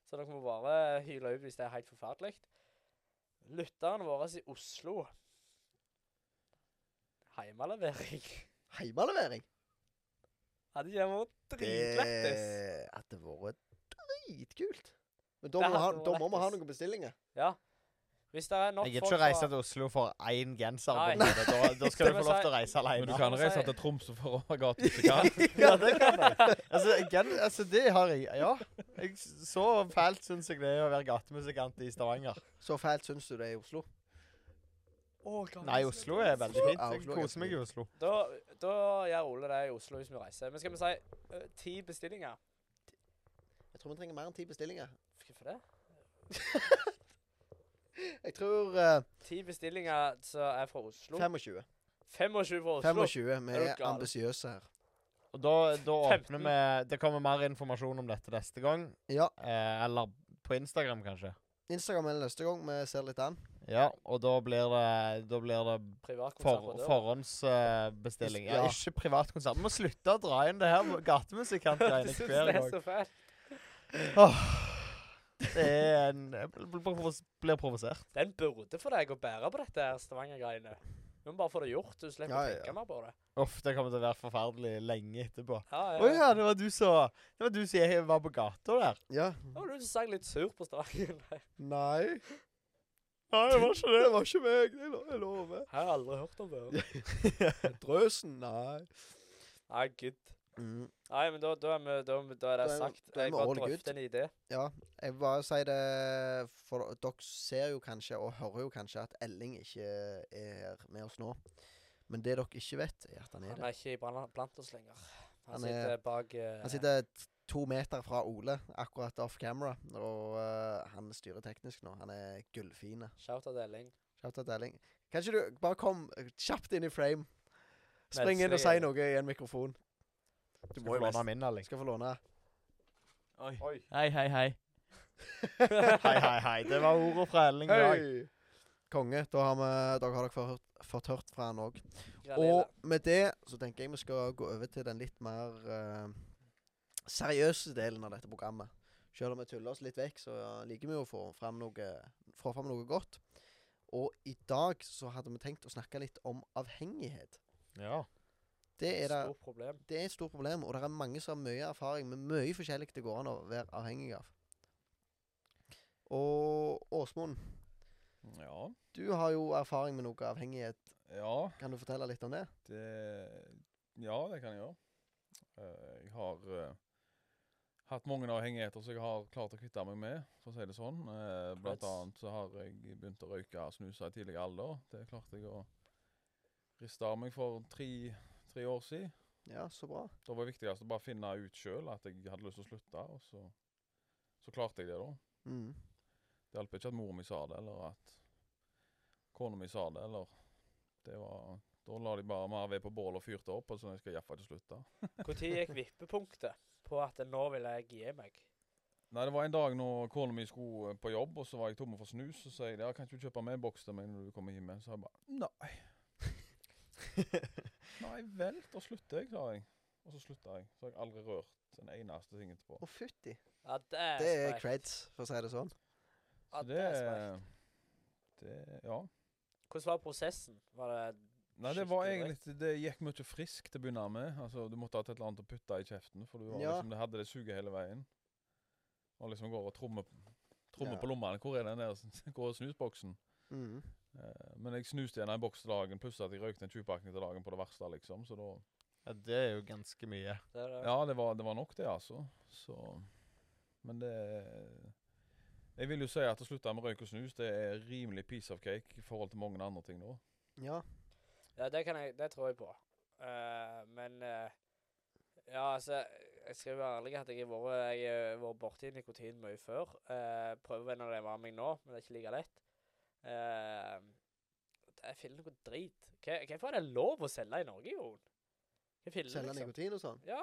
B: så dere må bare hyle ut hvis det er helt forferdelig. Lytterne våre i Oslo Heimelevering.
A: heimelevering.
B: Hadde ikke det vært dritlættis?
A: Det hadde vært dritkult. Men da
B: Det
A: må, vi ha,
B: hadde vært
A: da må vi ha
B: lættis.
A: noen bestillinger.
B: Ja. Hvis det er nok
D: Jeg gidder
B: folk
D: ikke å reise
B: fra-
D: til Oslo for én genser. på
B: Nei.
D: en måte. Da, da skal du
B: Men
D: få lov til å
B: så-
D: reise
C: Men du
D: alene.
C: kan
B: Ja.
C: reise til Tromsø for å ha gatemusikal.
D: Ja, det kan jeg. Altså, gen, altså, det har jeg Ja. Jeg, s- så fælt syns jeg det er å være gatemusikant i Stavanger.
A: Så fælt syns du det er i Oslo?
B: Å, hva
D: Nei,
B: er det som
D: Oslo er
B: det?
D: veldig fint.
A: Ja,
D: Jeg
A: Oslo er
D: koser meg i Oslo.
B: Da, da gjør Ole det i Oslo hvis vi reiser. Men skal vi si eh, ti bestillinger?
A: Jeg tror vi trenger mer enn ti bestillinger.
B: Hvorfor det?
A: Jeg tror eh,
B: Ti bestillinger som er fra Oslo.
A: 25.
B: 25 fra Oslo.
A: 25. Vi
B: Er du
A: er
B: gal?
A: ambisiøse her.
D: Og da, da åpner
B: 15.
D: vi Det kommer mer informasjon om dette neste gang.
A: Ja.
D: Eh, eller på Instagram, kanskje.
A: Instagram er neste gang. Vi ser litt an.
D: Ja, og da blir det, da blir det
B: Privatkonsert på
D: for,
B: døra.
D: forhåndsbestilling. Ja,
A: Ja.
D: ikke privatkonsert. Vi må slutte å dra inn det her
B: Du
D: gatemusikantgreiene
B: syns
D: hver
B: det er
D: gang.
B: så fælt?
D: Åh, Det er en Jeg bl- bl- provos- blir provosert.
B: Den burde for deg å bære på dette her Stavanger-greiene. Du må bare få det gjort. Du slipper
A: Ja,
B: å
A: ja, ja.
B: tenke mer på det.
D: Uff, det kommer til å være forferdelig lenge etterpå.
B: Ja,
D: Å
B: ja.
D: ja, det var du som Det var du som jeg var på gata der.
A: Ja.
B: Det var du som sang litt sur på Stavanger.
A: Nei.
D: Nei, det var ikke
A: Det var ikke meg, jeg, lo jeg lover.
B: Jeg har aldri hørt om før.
A: Drøsen, nei.
B: Nei, gud.
A: Mm.
B: Nei, men da, da, er, vi, da, da er det
A: Da er vi-
B: sagt.
A: da er
B: jeg
A: vi
B: bare
A: all
B: drøfter en idé.
A: Ja, jeg vil bare si det For dere ser jo kanskje, og hører jo kanskje, at Elling ikke er med oss nå. Men det dere ikke vet, er at han er
B: Han
A: det.
B: er ikke blant, blant oss lenger. Han,
A: Han
B: sitter
A: er-
B: bak eh,
A: Han sitter t- to meter fra Ole, akkurat off camera, og eh, han styrer teknisk nå. Han er gullfine.
B: Shout out Elling.
A: Shout out Elling. Kan ikke du bare kom eh, kjapt inn i frame? Spring inn og si
B: Melsing,
A: noe i en mikrofon. Du må jo
D: Skal låne
A: nesten
D: min, Alex.
A: Skal få låne.
D: Oi.
E: Hei, hei, hei.
D: Hei, hei, hei. Det var ordet fra Elling i dag.
A: Hei! Konge. Da har vi, dere har dere fått, fått hørt fra han òg.
B: Granile.
A: Og med det så tenker jeg vi skal gå over til den litt mer eh, seriøse delen av dette programmet. Selv om vi tuller oss litt vekk, så liker vi jo å få fram noe, få fram noe godt. Og i dag så hadde vi tenkt å snakke litt om avhengighet.
D: Ja.
A: Det er, det,
B: Stort problem.
A: det er et stort problem, og det er mange som har mye erfaring med mye forskjellig det går an å være avhengig av. Og Åsmund,
C: Ja.
A: du har jo erfaring med noe avhengighet.
C: ja.
A: Kan du fortelle litt om det?
C: Det eh, Ja, det kan jeg gjøre. Eh, jeg har eh, hatt mange avhengigheter som jeg har klart å kvitte meg med, for å si det sånn. Eh, blant
B: Nice.
C: annet så har jeg begynt å røyke og snuse i tidlig alder. Det klarte jeg å riste av meg for tre, tre år siden.
A: Ja, så bra.
C: Da var det viktigst å bare finne ut sjøl at jeg hadde lyst til å slutte, og så, så klarte jeg det, da.
A: Mm.
C: Det hjalp ikke at mor mi sa det, eller at kona mi sa det, eller det var, Da la de bare mer ved på bålet og fyrte opp, og så jeg skal iallfall ikke slutte.
B: Når gikk vippepunktet på at nå vil jeg gi meg?
C: Nei, det var en dag når kona mi skulle eh, på jobb, og så var jeg tom for snus, og så sa jeg ja, kan ikke du kjøpe med en boks til meg når du kommer hjem? igjen?» Så jeg bare nei. nei vel, da slutter jeg, sa jeg. Og så slutta jeg. Så har jeg aldri rørt en eneste ting etterpå.
A: Å, fytti.
B: Ja, det er
A: Det er
B: sprekt.
A: creds, for å si det sånn.
B: Ja,
C: Så
B: det er sprekt.
C: det Ja.
B: Hvordan var prosessen? Var det
C: Nei, det var
B: Skikkelig
C: egentlig Det gikk mye frisk til å begynne med. Altså, Du måtte ha et eller annet å putte i kjeften, for du var
A: Ja.
C: liksom, det hadde det suget hele veien. Og liksom går og trommer, trommer
A: Ja.
C: på lommene. Hvor er den der Hvor er snusboksen?
A: Mm.
C: Eh, men jeg snuste igjen en boks til dagen, pluss at jeg røykte en 20-pakning til dagen på det verste, liksom. Så da
D: ja. Det er jo ganske mye.
B: det er det.
C: Ja, det var, det var nok, det, altså. Så Men det Jeg vil jo si at å slutte med røyk og snus, det er rimelig piece of cake i forhold til mange andre ting nå.
A: Ja.
B: Ja, det, kan jeg, det tror jeg på. Eh, men eh, Ja, altså, jeg skal være ærlig at jeg har vært, jeg har vært borti nikotin mye før. Uh, prøver å vende det av meg nå, men det er ikke like lett. Eh, det jeg finner noe drit. Hva- Hvorfor er det lov å selge i Norge, Jon? Hva finner du,
A: Selge
B: liksom?
A: nikotin og sånn.
B: Ja,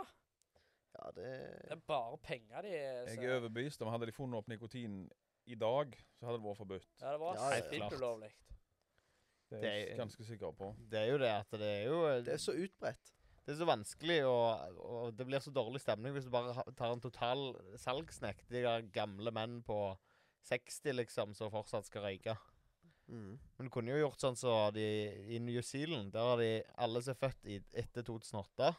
A: Ja, det
B: det er bare penger de
C: Jeg
B: så-
C: er overbevist om hadde de funnet opp nikotin i dag, så hadde det vært forbudt.
B: Ja, det var
A: Ja, ja, ja.
B: spilt ulovlig.
C: Det er
D: Det
C: jeg
D: er-
C: s- ganske sikker på.
D: Det er jo det at det er jo
A: Det er så utbredt.
D: Det er så vanskelig, og, og det blir så dårlig stemning hvis du bare ha- tar en total salgssnekk. De der gamle menn på 60 liksom, som fortsatt skal røyke.
A: Mm.
D: Men du kunne jo gjort sånn som de i New Zealand. Der har de alle som er født i, etter 2008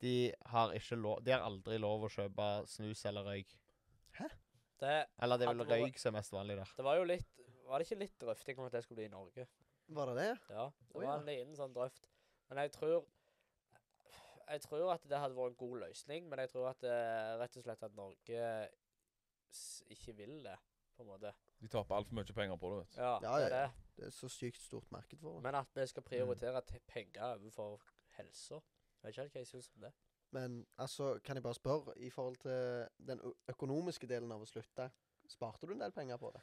D: de har, ikke lov, de har aldri lov å kjøpe snus eller røyk.
B: Det,
D: Eller det er
B: Hadde
D: vel
B: vært-
D: røyk som er mest vanlig der.
B: det var jo litt Var det ikke litt drøfting om at det skulle bli i Norge?
A: Var det det?
B: Ja, det
A: Å,
B: var
A: ja.
B: en liten sånn drøft. Men jeg tror Jeg tror at det hadde vært en god løsning, men jeg tror at det, rett og slett at Norge s ikke vil det, på en måte.
C: De taper altfor mye penger på det, vet du.
B: Ja,
A: Ja,
B: det er
A: ja, ja.
B: det.
A: Det er et så sykt stort marked for det.
B: Men at vi skal prioritere
A: Mm.
B: til penger overfor helsa. Jeg vet ikke helt hva jeg syns om det.
A: Men altså, kan jeg bare spørre, i forhold til den ø- økonomiske delen av å slutte, sparte du en del penger på det?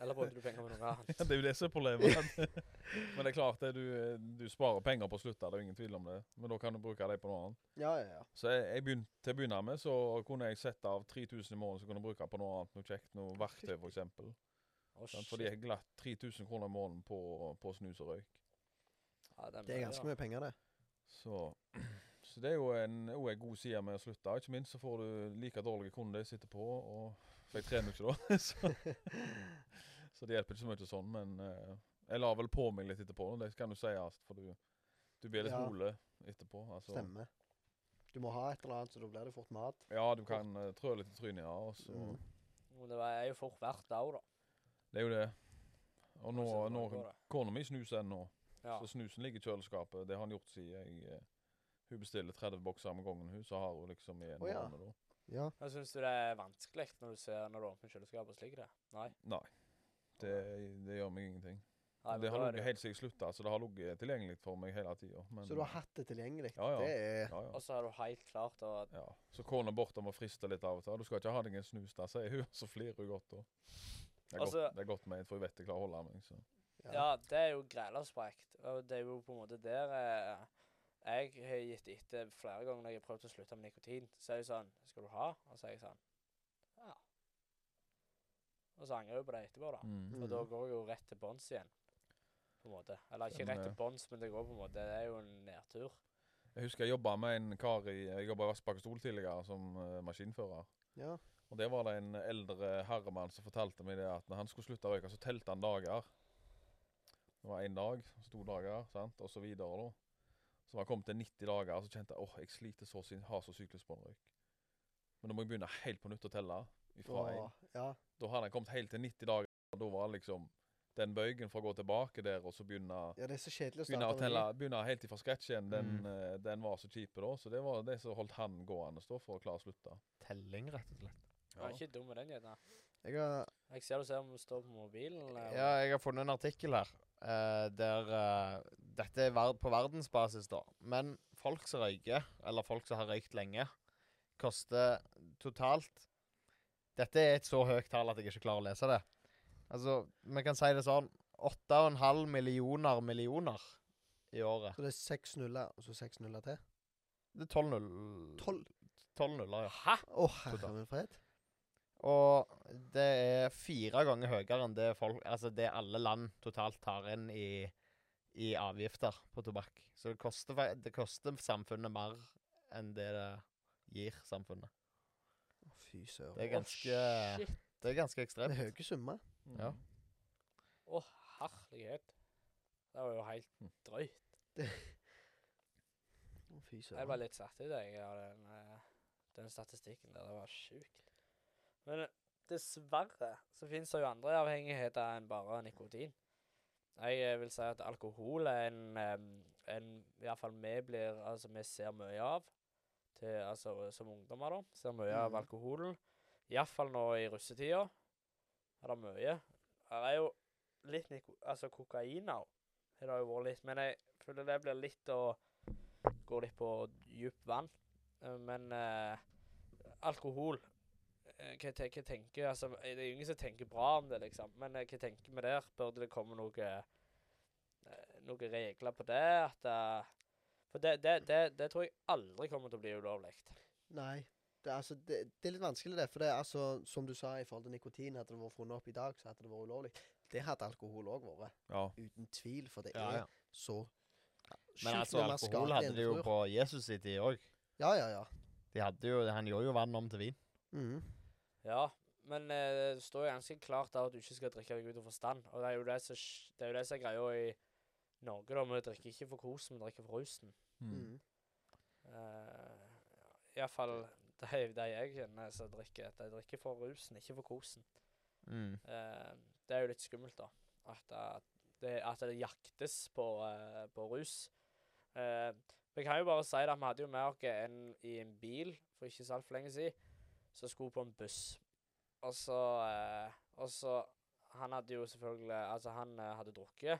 B: Eller brukte du penger på noe annet?
C: Ja, det er jo det som er problemet. Men det er klart det, du, du sparer penger på å slutte, det er jo ingen tvil om det. Men da kan du bruke dem på noe annet.
A: Ja, ja, ja.
C: Så jeg, jeg begyn- til å begynne med så kunne jeg sette av 3000 i måneden som kunne jeg bruke på noe annet, noe kjekt, noe verktøy f.eks.
B: Å,
C: Fordi
B: shit.
C: jeg glatt 3000 kroner i måneden på, på snus og røyk.
B: Ja,
A: Det er ganske mye penger, det.
C: Så, så det er jo en, jo en god side med å slutte. Ikke minst så får du like dårlige kunder sitter på, og for jeg trener jo ikke da. så, så det hjelper ikke så mye sånn, men eh, jeg la vel på meg litt etterpå. Det kan du si, Ast, for du, du blir litt
A: Ja.
C: hole etterpå. Altså,
A: Stemmer. Du må ha et eller annet, så da blir det fort mat.
C: Ja, du kan uh, trø litt i trynet, ja. Og så,
A: Mm.
B: Men det var- er jo fort verdt det òg, da.
C: Det er jo det. Og nå,
B: Så
C: nå
B: går det.
C: Kona mi snuser ennå,
B: Ja.
C: så snusen ligger i kjøleskapet. Det har han gjort siden jeg eh, Hun bestiller 30 bokser med gangen, hun, så har hun liksom i en
A: Å, ja.
C: måned da.
A: Ja.
B: Men Syns du det er vanskelig når du ser når du åpner kjøleskapet og slikker det? Nei.
C: Nei. Det, det gjør meg ingenting.
B: Nei, men
C: det
B: da
C: har
B: er
C: ligget helt siden jeg slutta, så det har ligget tilgjengelig for meg hele tida.
A: Så du har hatt det tilgjengelig?
C: Ja, ja.
A: Det er
C: ja, ja.
B: Og så har du helt klart og
C: ja. Så kona borte må friste litt av og til. 'Du skal ikke ha deg en snus der', sier hun. Så flirer hun godt da. Det er,
B: Altså-
C: godt, det er godt ment, for jeg vet jeg klarer å holde meg. Så.
A: Ja.
B: Ja, det er jo græla sprekt. Og det er jo på en måte der eh, jeg har gitt etter flere ganger når jeg har prøvd å slutte med nikotin. Så er jeg sånn 'Skal du ha?' Og så er jeg sånn Ja. Og så angrer jeg jo på det etterpå, da.
C: Mm.
B: Og da
A: Mhm.
B: går jeg jo rett til bånns igjen. På en måte. Eller ikke
C: Den,
B: rett til
C: eh,
B: bånns, men det går på en måte Det er jo en nedtur.
C: Jeg husker jeg jobba med en kar i Jeg jobba i Vassbakk Stol tidligere som eh, maskinfører.
A: ja.
C: Og Der var det en eldre herremann som fortalte meg det at når han skulle slutte å røyke, så telte han dager. Det var én dag, så to dager, sant? og så videre. da. Så var han kommet til 90 dager, så kjente jeg åh, jeg sliter så sin, har så syklusbåndrøyk. Men nå må jeg begynne helt på nytt å telle. ifra
A: Åh,
C: en.
A: ja.
C: Da hadde han kommet helt til 90 dager. og Da var det liksom den bøygen for å gå tilbake der og så begynne,
A: ja, det er så kjedelig å
C: begynne, å
A: starte
C: telle, begynne helt ifra scratch igjen, den,
D: Mm.
C: eh, den var så kjip da. Så det var det som holdt han gående da, for å klare å slutte.
D: Telling, rett og slett.
B: Jeg er ikke dum med den, gjerne.
A: med. Jeg har
B: Jeg ser du ser om du står på mobilen. eller-
D: Ja, jeg har funnet en artikkel her eh, der eh, Dette er ver på verdensbasis, da. Men folk som røyker, eller folk som har røykt lenge, koster totalt Dette er et så høyt tall at jeg ikke klarer å lese det. Altså, vi kan si det sånn 8,5 millioner millioner i året.
A: Så det er seks nuller, og så seks nuller til?
D: Det er 12 null-
A: Tolv?
D: 12 nuller, ja.
B: Hæ?
A: Å, herre min fred.
D: Og det er fire ganger høyere enn det, folk, altså det alle land totalt tar inn i, i avgifter på tobakk. Så det koster, fa- det koster samfunnet mer enn det det gir samfunnet.
A: Å, Fy søren.
D: Det er
B: Å,
D: ganske,
B: shit.
D: det er ganske
A: Det er
D: ekstremt.
A: høye summer.
D: Ja. Mm.
B: Å, herlighet. Det var jo helt
D: Hm.
C: Mm.
B: drøyt.
A: Å, Fy
B: Jeg var
A: søren.
B: litt satt ut, jeg, av den, eh, den statistikken der. Det var sjukt. Men eh, dessverre så fins det jo andre avhengigheter enn bare nikotin. Jeg eh, vil si at alkohol er en, eh, en i hvert fall vi blir Altså, vi ser mye av til, altså, som ungdommer, da. Ser mye av
A: Mhm.
B: alkoholen. Iallfall nå i russetida er det mye. Her er jo litt niko Altså, kokain òg har det jo vært litt. Men jeg føler det blir litt å gå litt på dypt vann. Eh, Men eh, alkohol eh, hva, te- hva tenker altså, eh, Det er jo ingen som tenker bra om det, liksom. Men eh, hva tenker vi der? Burde det komme noe eh, noen regler på det? At, eh, for det, det, det, det tror jeg aldri kommer til å bli ulovlig.
A: Nei. Det er, altså, det, det er litt vanskelig, det. For det er altså, som du sa i forhold til nikotin, hadde det vært funnet opp i dag, så hadde det vært ulovlig. Det hadde alkohol òg vært.
C: Ja.
A: Uten tvil, for det
D: Ja,
A: er
D: ja.
A: så
D: Men altså, alkohol hadde de jo på Jesus i tid òg.
A: Ja, ja, ja.
D: Han gjorde jo vann om til vin.
A: Mhm.
B: Ja, men eh, det står jo ganske klart der at du ikke skal drikke deg ut av forstand. Og det er jo det som sk- det er jo det som er greia i Norge, da. Vi drikker ikke for kosen, vi drikker for rusen.
C: Mm.
A: Mhm.
B: Uh, Iallfall de, de jeg kjenner som drikker, de drikker for rusen, ikke for kosen.
D: Mm.
B: Eh, det er jo litt skummelt, da. At, eh, det, at det jaktes på, eh, på rus. Eh, vi kan jo bare si det, vi hadde jo med oss en i en bil for ikke så altfor lenge siden som skulle på en buss. Og så eh, Og så Han hadde jo selvfølgelig Altså, han eh, hadde drukket.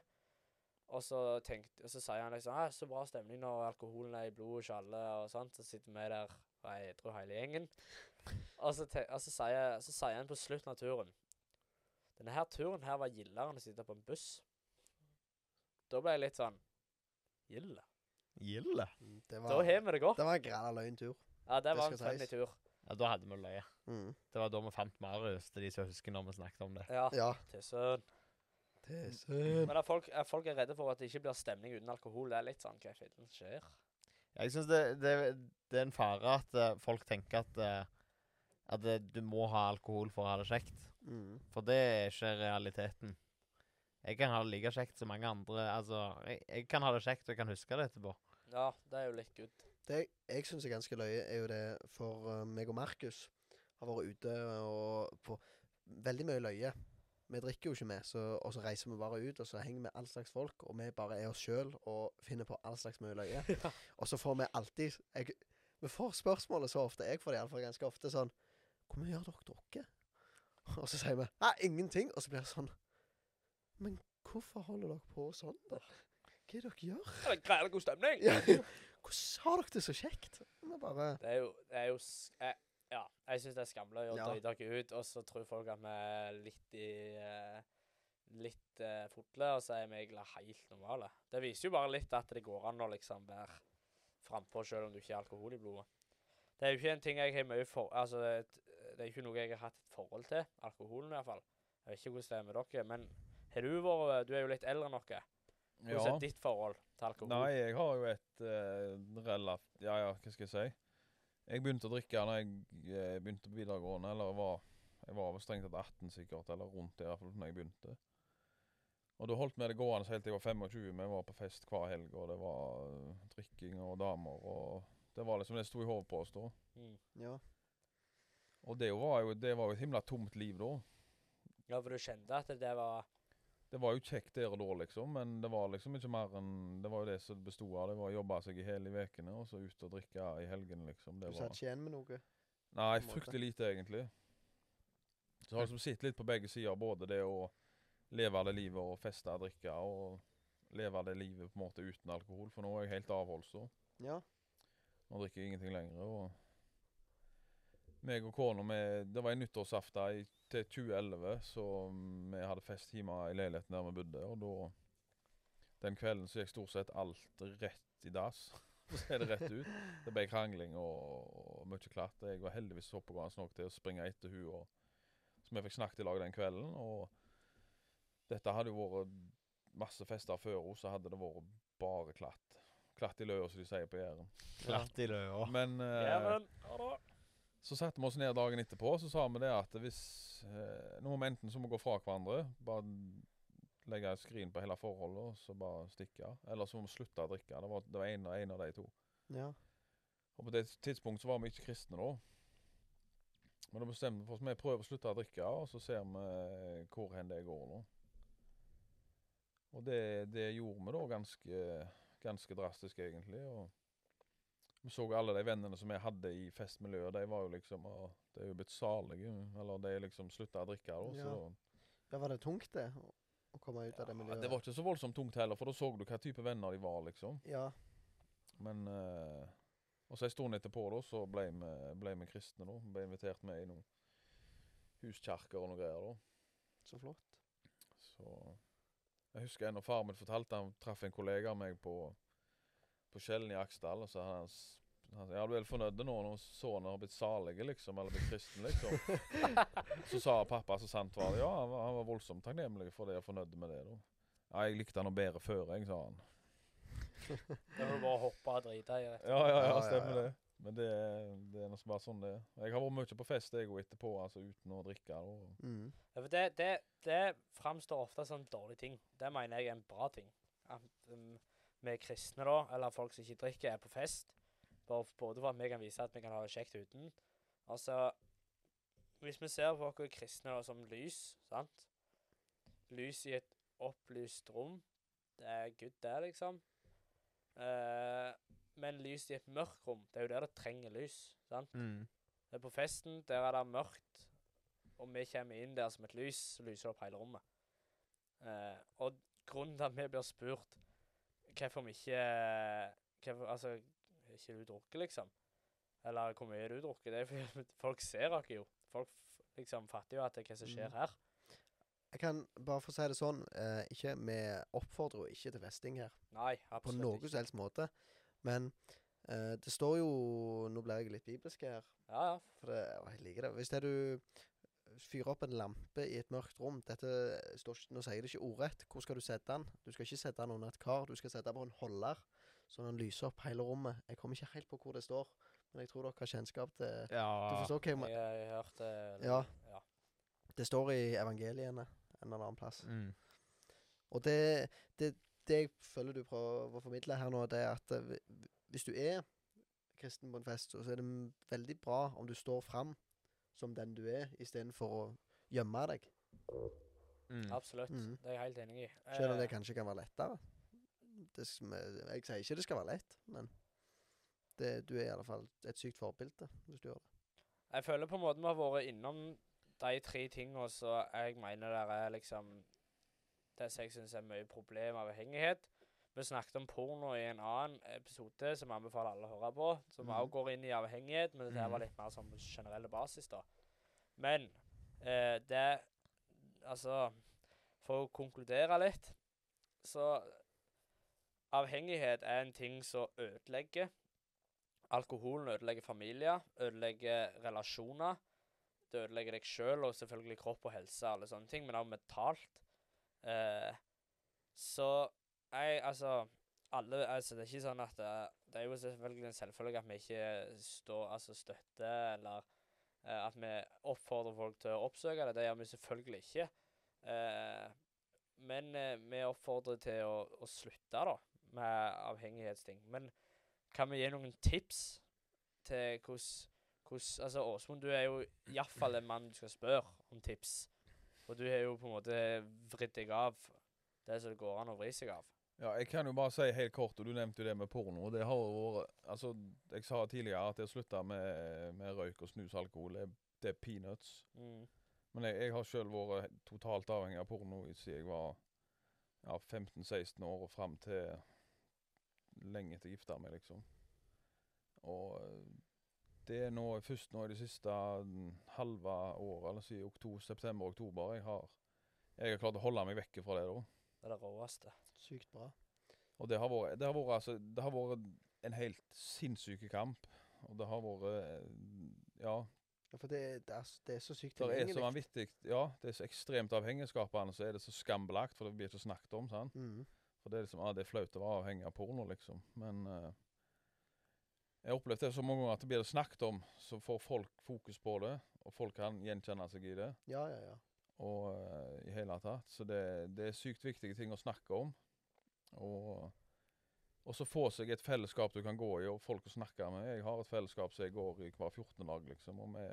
B: Og så tenkte, og så sier han liksom «Ah, 'Så bra stemning når alkoholen er i blodet hos alle', og sånt. Så sitter vi der og er edru hele gjengen. Og så, te, og så, sier, så sier han på slutten av turen denne her turen her var gildere enn å sitte på en buss. Da ble jeg litt sånn Gilde?
D: Gilde.
A: Mm, Det
B: Da
A: var,
B: har vi det godt.
A: det var en græla løgntur.
B: Ja, det
A: det
B: var en
A: skal
B: funny
A: sies.
B: tur.
D: Ja, da hadde vi løye.
A: Mhm.
D: Det var da vi fant Marius, til de som husker når vi snakket om det.
B: Ja,
A: Ja.
B: til søren.
A: Det er søren.
B: Men at folk, at folk er redde for at det ikke blir stemning uten alkohol, det er litt sånn Hva i fitten skjer?
D: Jeg syns det, det, det er en fare at eh, folk tenker at, eh, at eh, du må ha alkohol for å ha det kjekt.
A: Mhm.
D: For det er ikke realiteten. Jeg kan ha det like kjekt som mange andre. Altså, jeg, jeg kan ha det kjekt, og jeg kan huske det etterpå.
B: Ja, det er jo litt good.
A: Det jeg, jeg syns er ganske løye, er jo det for eh, meg og Markus har vært ute og på veldig mye løye. Vi drikker jo ikke med, så, og så reiser vi bare ut, og så henger vi all slags folk, og vi bare er oss sjøl og finner på all slags mulig løye.
B: Ja.
A: Og så får vi alltid jeg, Vi får spørsmålet så ofte, jeg får det iallfall ganske ofte, sånn Hvor mye har dere drukket? Og så sier vi Nei, ingenting. Og så blir det sånn Men hvorfor holder dere på sånn, da? Hva er det dere gjør?
B: Det er grei god stemning.
A: Ja. Hvordan har dere det så kjekt? Vi bare
B: Det er jo, det er jo s- eh, Ja, jeg syns det er skamløy å
A: Ja.
B: drøye dere ut, og så tror folk at vi er litt i eh, Litt eh, fotle, og så er vi egentlig helt normale. Det viser jo bare litt at det går an å liksom være frampå selv om du ikke har alkohol i blodet. Det er jo ikke en ting jeg har mye for... Altså, det er et- det er ikke noe jeg har hatt et forhold til. Alkoholen, i hvert fall. Jeg vet ikke hvordan det er med dere, men har du vært Du er jo litt eldre enn dere. Hvordan
C: Ja.
B: er ditt forhold til alkohol?
C: Nei, jeg har jo et uh, relativt Ja, ja, hva skal jeg si? Jeg begynte å drikke da jeg eh, begynte på videregående, eller var Jeg var vel strengt tatt 18 sikkert, eller rundt det i hvert fall når jeg begynte. Og da holdt vi det gående helt til jeg var 25. Vi var på fest hver helg, og det var eh, drikking og damer og Det var liksom det som sto i hodet på oss da.
B: Mm.
A: Ja.
C: Og det var jo, det var jo et himla tomt liv da.
B: Ja, for du kjente at det var
C: Det var jo kjekt der og da, liksom, men det var liksom ikke mer enn Det var jo det som det bestod av. Det var å jobbe seg i hele ukene, og så ut og drikke i helgene, liksom.
A: Du
C: Det
A: satt
C: var
A: ikke igjen med noe?
C: Nei,
A: på en måte.
C: fryktelig lite, egentlig. Så jeg har liksom sett litt på begge sider, både det å leve det livet og feste og drikke, og leve det livet på en måte uten alkohol, for nå er jeg helt avholds, da.
A: Ja.
C: Nå drikker jeg ingenting lenger. Og meg og kona vi- Det var en nyttårsaften i, til 2011, så vi hadde fest hjemme i leiligheten der vi bodde. Og da Den kvelden så gikk stort sett alt rett i dass. For å si det rett ut. Det ble krangling og, og mye klatt. Jeg var heldigvis oppegående nok til å springe etter hun og Så vi fikk snakket i lag den kvelden. Og dette hadde jo vært masse fester før henne, så hadde det vært bare klatt. Klatt i løa, som de sier på Jæren.
D: Klart i løa.
C: Men eh,
B: Ja, men, ja da.
C: så satte vi oss ned dagen etterpå og så sa vi det at hvis eh, Nå må vi enten så må vi gå fra hverandre, bare legge et skrin på hele forholdet og så bare stikke. Eller så må vi slutte å drikke. Det var, det var en, og en av de to.
A: ja.
C: Og på det tidspunktet så var vi ikke kristne da. Men da bestemte vi oss for at vi prøver å slutte å drikke, og så ser vi eh, hvor hen det går nå. Og det, det gjorde vi da ganske, ganske drastisk, egentlig. og vi så alle de vennene som jeg hadde i festmiljøet, de var jo liksom ah, De er jo blitt salige. Eller de liksom slutta å drikke. Da,
A: Ja.
C: så da
A: ja. Var det tungt, det? Å, å komme ut av det
C: ja,
A: miljøet?
C: det var ikke så voldsomt tungt heller, for da så du hva type venner de var, liksom.
A: Ja.
C: Men eh, Og så en stund etterpå da, så ble vi, ble vi kristne, da. Ble invitert med i noen huskjerker og noe greier, da.
A: Så flott.
C: Så Jeg husker en av faren min fortalte han traff en kollega av meg på På Skjellen i Aksdal, og så hadde han s- han sa, ja, du er vel fornøyd nå når sønnen har blitt salige, liksom, eller blitt kristen, liksom. så sa pappa så sant var det. Ja, han var, han var voldsomt takknemlig for det og fornøyd med det, da. Ja, jeg likte han noe bedre før, jeg, sa han.
B: Da må du bare hoppe og drite i det.
C: Ja, ja,
A: Ja, ja,
C: ja, stemmer
A: ja.
C: det. Men det, det er nesten bare sånn det er. Jeg har vært mye på fest jeg og etterpå, altså uten å drikke. Og
A: Mm.
B: Ja, for det, det, det framstår ofte som en dårlig ting. Det mener jeg er en bra ting. At um, vi er kristne, da, eller folk som ikke drikker, er på fest. Bare f- Både for at vi kan vise at vi kan ha det kjekt uten. Altså Hvis vi ser på oss kristne da, som lys, sant Lys i et opplyst rom. Det er good, det, liksom. Eh, men lys i et mørkt rom, det er jo der det trenger lys. sant?
D: Mm.
B: Det er på festen, der er det mørkt, og vi kommer inn der som et lys, så lyser det opp hele rommet. Eh, og grunnen til at vi blir spurt hvorfor vi ikke hvorfor, Altså, har ikke du drukket, liksom? Eller hvor mye har du drukket? Det er fordi at folk ser dere jo. Folk f- liksom fatter jo at det er hva som skjer
A: Mm.
B: her.
A: Jeg kan bare få si det sånn, eh, ikke, vi oppfordrer jo ikke til festing her
B: Nei,
A: på
B: absolutt
A: noen
B: ikke.
A: som helst måte. Men eh, det står jo Nå blir jeg litt bibelsk her,
B: Ja, ja.
A: for det, og jeg liker det. Hvis det er du eh, fyrer opp en lampe i et mørkt rom dette står ikke, Nå sier jeg det ikke ordrett. Hvor skal du sette den? Du skal ikke sette den under et kar, du skal sette den på en holder, så den lyser opp hele rommet. Jeg kommer ikke helt på hvor det står, men jeg tror dere har kjennskap til Du
D: Ja.
A: forstår hva jeg
B: Jeg,
A: mener?
B: jeg hørte
A: Ja.
B: ja.
A: Det står i evangeliene en eller annen plass.
D: Mm.
A: Og det, det, det jeg føler du prøver å formidle her nå, det er at eh, hvi- hvi- hvis du er kristen på en fest, så så er det m- veldig bra om du står fram som den du er, istedenfor å gjemme deg.
D: Mm.
B: Absolutt.
A: Mhm.
B: Det er jeg helt enig i.
A: Selv om det
B: Eh,
A: kanskje kan være lettere. Det, s- med- jeg sier ikke det skal være lett, men det, du er i alle fall et sykt forbilde hvis du gjør det.
B: Jeg føler på en måte vi har vært innom de tre tingene så jeg mener det er liksom Det som jeg syns er mye problem av avhengighet. Vi snakket om porno i en annen episode som jeg anbefaler alle å høre på. Som også
A: Mhm.
B: går inn i avhengighet, men dette her var
D: Mhm.
B: litt mer sånn på generelle basis, da. Men eh, det Altså For å konkludere litt, så Avhengighet er en ting som ødelegger. Alkoholen ødelegger familier, ødelegger relasjoner. Det ødelegger deg sjøl og selvfølgelig kropp og helse, alle sånne ting, men også mentalt. Eh, så jeg, altså alle, altså Det er ikke sånn at eh, Det er jo selvfølgelig en selvfølge at vi ikke står, altså støtter eller eh, at vi oppfordrer folk til å oppsøke det. Det gjør vi selvfølgelig ikke. Eh, men eh, vi oppfordrer til å, å slutte da, med avhengighetsting. Men kan vi gi noen tips til hvordan hvordan- Altså, Åsmund, du er jo iallfall en mann du skal spørre om tips. Og du har jo på en måte vridd deg av det som det går an å vri seg av.
C: Ja, jeg kan jo bare si helt kort, og du nevnte jo det med porno. og Det har jo vært Altså, jeg sa tidligere at det å slutte med, med røyk og snus og alkohol, det, det er peanuts.
B: Mm.
C: Men jeg, jeg har sjøl vært he- totalt avhengig av porno i- siden jeg var ja, 15-16 år og fram til lenge etter jeg gifta meg, liksom. Og eh, det er nå først nå i det siste mm, halve året, eller si oktober, september-oktober, jeg har jeg har klart å holde meg vekke fra det, da.
B: Det er det råeste.
A: Sykt bra.
C: Og det har vært, det har vært, altså, det har vært en helt sinnssyk kamp. Og det har vært eh, Ja,
A: Ja, for det, det, er, s- det er så sykt
C: det er så
A: tilgjengelig.
C: vanvittig Ja, det er så ekstremt avhengigskapende, så er det så skambelagt, for det blir ikke snakket om. sant?
A: Mhm.
C: For det er liksom, ah, det er flaut å være avhengig av porno, liksom. Men eh, jeg har opplevd det så mange ganger at det blir det snakket om, så får folk fokus på det, og folk kan gjenkjenne seg i det.
A: Ja, ja, ja.
C: Og eh, i hele tatt. Så det, det er sykt viktige ting å snakke om. Og, og så få seg et fellesskap du kan gå i, og folk å snakke med. Jeg har et fellesskap som jeg går i hver 14. dag, liksom. Og vi,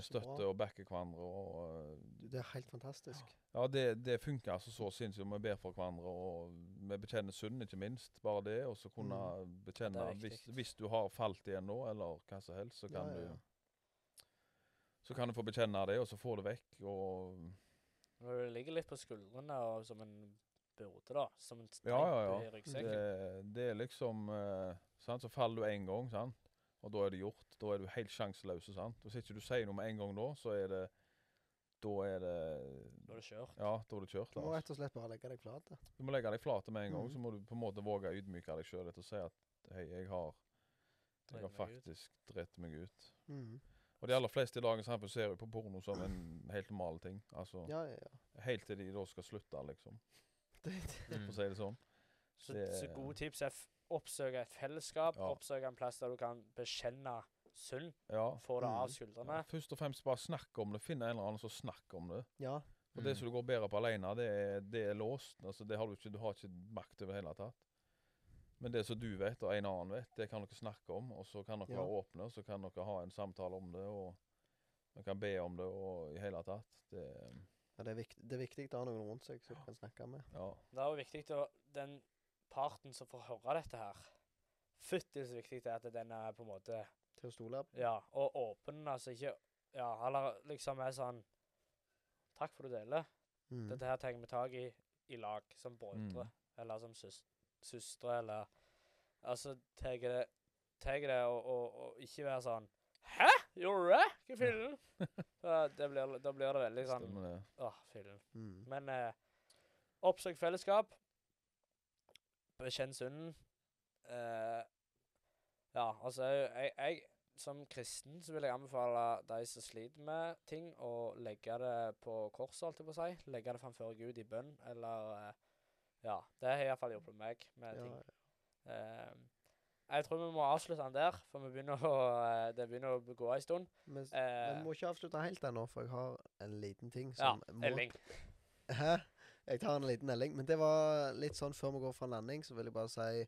A: Så bra.
C: støtter og backer hverandre. Og, eh,
A: Du, Det er helt fantastisk.
C: ja, det, det funker altså så sinnssykt. Vi ber for hverandre, og vi bekjenner synd, ikke minst. Bare det. Og så kunne
A: Mm.
C: bekjenne
B: Ja, det er
C: hvis,
B: viktig.
C: hvis du har falt igjen nå, eller hva som helst, så
A: Ja,
C: kan
A: ja, ja.
C: du så kan du få bekjenne det, og så få det vekk. og...
B: Når det ligger litt på skuldrene og som en byrde, da. Som en stein
C: Ja, ja, ja.
B: i ryggsekken.
C: Det, det er liksom eh, sant? Så faller du én gang, sant? og da er det gjort. Da er du helt sjanseløs. sant? Hvis ikke du sier noe med en gang da, så er det Da er det
B: Da er det kjørt.
C: Ja, da er det kjørt.
A: Du må
C: Altså.
A: rett og slett bare legge deg flat. da.
C: Du må legge deg flate med en gang.
A: Mhm.
C: Så må du på en måte våge å ydmyke deg sjøl og si at hei, jeg har jeg har
B: Dreit meg ut.
C: faktisk dritt meg ut.
A: Mhm.
C: Og de aller fleste i dagens samfunn ser jo på porno som en helt normal ting. Altså,
A: Ja, ja, ja.
C: Helt til de da skal slutte, liksom.
A: Det, det.
D: Mm.
C: For å si det sånn.
B: Så,
C: Det-
B: så gode tips er f oppsøke et fellesskap,
C: Ja.
B: oppsøke en plass der du kan bekjenne synd,
C: Ja. Mm.
B: få det av
A: Mhm.
B: skuldrene.
C: ja. Først og fremst bare snakk om det. Finn en eller annen som snakker om det.
A: Ja.
D: Mm.
C: Og
A: Mm.
C: det som du går bedre på alene, det er, det er låst. Altså, det har du, ikke, du har ikke makt over hele tatt. Men det som du vet, og en annen vet, det kan dere snakke om. Og så kan dere
A: Ja.
C: være åpne, og så kan dere ha en samtale om det. Og man kan be om det og i hele tatt. Det,
A: ja det, er viktig, det er viktig å ha noen rundt seg som du kan snakke med.
C: ja.
B: Det er jo viktig å Den parten som får høre dette her Fytti så viktig det er at den er på en måte
A: Til å stole på.
B: Ja, og åpen, altså ikke Ja, eller liksom er sånn Takk for du deler.
A: Mhm.
B: Dette her tar vi tak i i lag, som brødre,
C: Mm.
B: eller som søs søstre, eller Altså, tar det, tar det og, og, og ikke være sånn Hæ? Gjorde du det? Hva fillen? Da, det blir, da blir det veldig sånn
C: Stemmer det.
B: Åh, fillen.
A: Mhm.
B: Men eh, oppsøk fellesskap. Bekjenn synden. Eh, ja, altså jeg, jeg Som kristen så vil jeg anbefale de som sliter med ting, å legge det på korset, holdt jeg på å si. Legge det framfor Gud i bønn, eller eh, Ja. Det har iallfall hjulpet meg med
A: Ja,
B: ting. Eh, jeg tror vi må avslutte den der, for vi begynner å, eh, det begynner å gå en stund.
A: men s-
B: Eh,
A: Vi må ikke avslutte helt ennå, for jeg har en liten ting
B: ja,
A: som må
B: Elling.
A: Hæ? Jeg tar en liten melding. Men det var litt sånn før vi går fra landing, så vil jeg bare si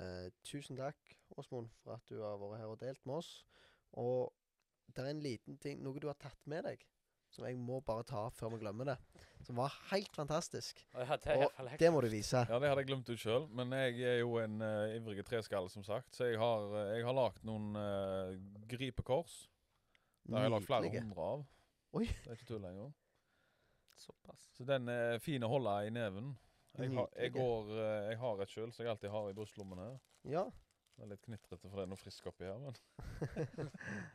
A: eh, tusen takk, Åsmund, for at du har vært her og delt med oss. Og det er en liten ting Noe du har tatt med deg som jeg må bare ta opp før vi glemmer det. Som var helt fantastisk.
B: Og ja, det er
A: Og
B: iallfall jeg.
A: Det må du vise.
C: Ja, det hadde jeg glemt ut sjøl, men jeg er jo en uh, ivrig treskalle, som sagt. Så jeg har, eh, jeg har lagd noen eh, gripekors. Det har jeg lagd flere
A: Nydelige.
C: hundre av.
A: Oi.
C: Det er ikke tull lenger.
D: Såpass.
C: Så den er fin å holde i neven. Jeg har, jeg
A: Nydelige.
C: går, eh, jeg har et sjøl som jeg alltid har i brystlommen her.
A: Ja.
C: Det er litt knitrete, for det er noe frisk oppi her, men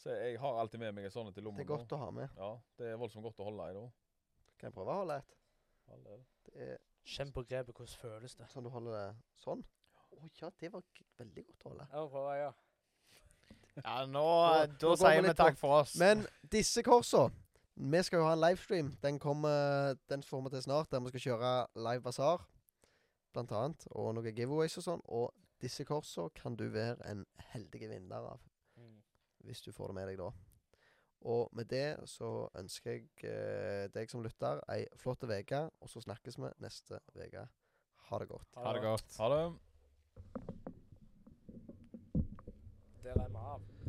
C: Så jeg har alltid med meg en sånn til lommen.
A: Det er godt å ha med.
C: nå. Ja, det er voldsomt godt å holde i da.
A: Kan jeg prøve å holde et?
C: Ja, det er det.
A: Det er
B: Kjenn på grepet. Hvordan føles det?
A: sånn du holder det sånn. Å ja, det var g- veldig godt å holde.
B: Jeg må prøve, ja.
D: Ja, nå, eh,
A: Nå-
D: Da
A: nå går vi
D: sier vi
A: litt
D: takk for oss.
A: Men disse korsa Vi skal jo ha en livestream. Den kommer Den får vi til snart, der vi skal kjøre live basar, blant annet. Og noen giveaways og sånn. Og disse korsa kan du være en heldig vinner av.
B: Mm.
A: hvis du får det med deg da. Og med det så ønsker jeg eh, deg som lytter ei flott uke, og så snakkes vi neste uke. Ha det godt.
D: Ha det godt.
C: Ha det.
B: Der er vi av.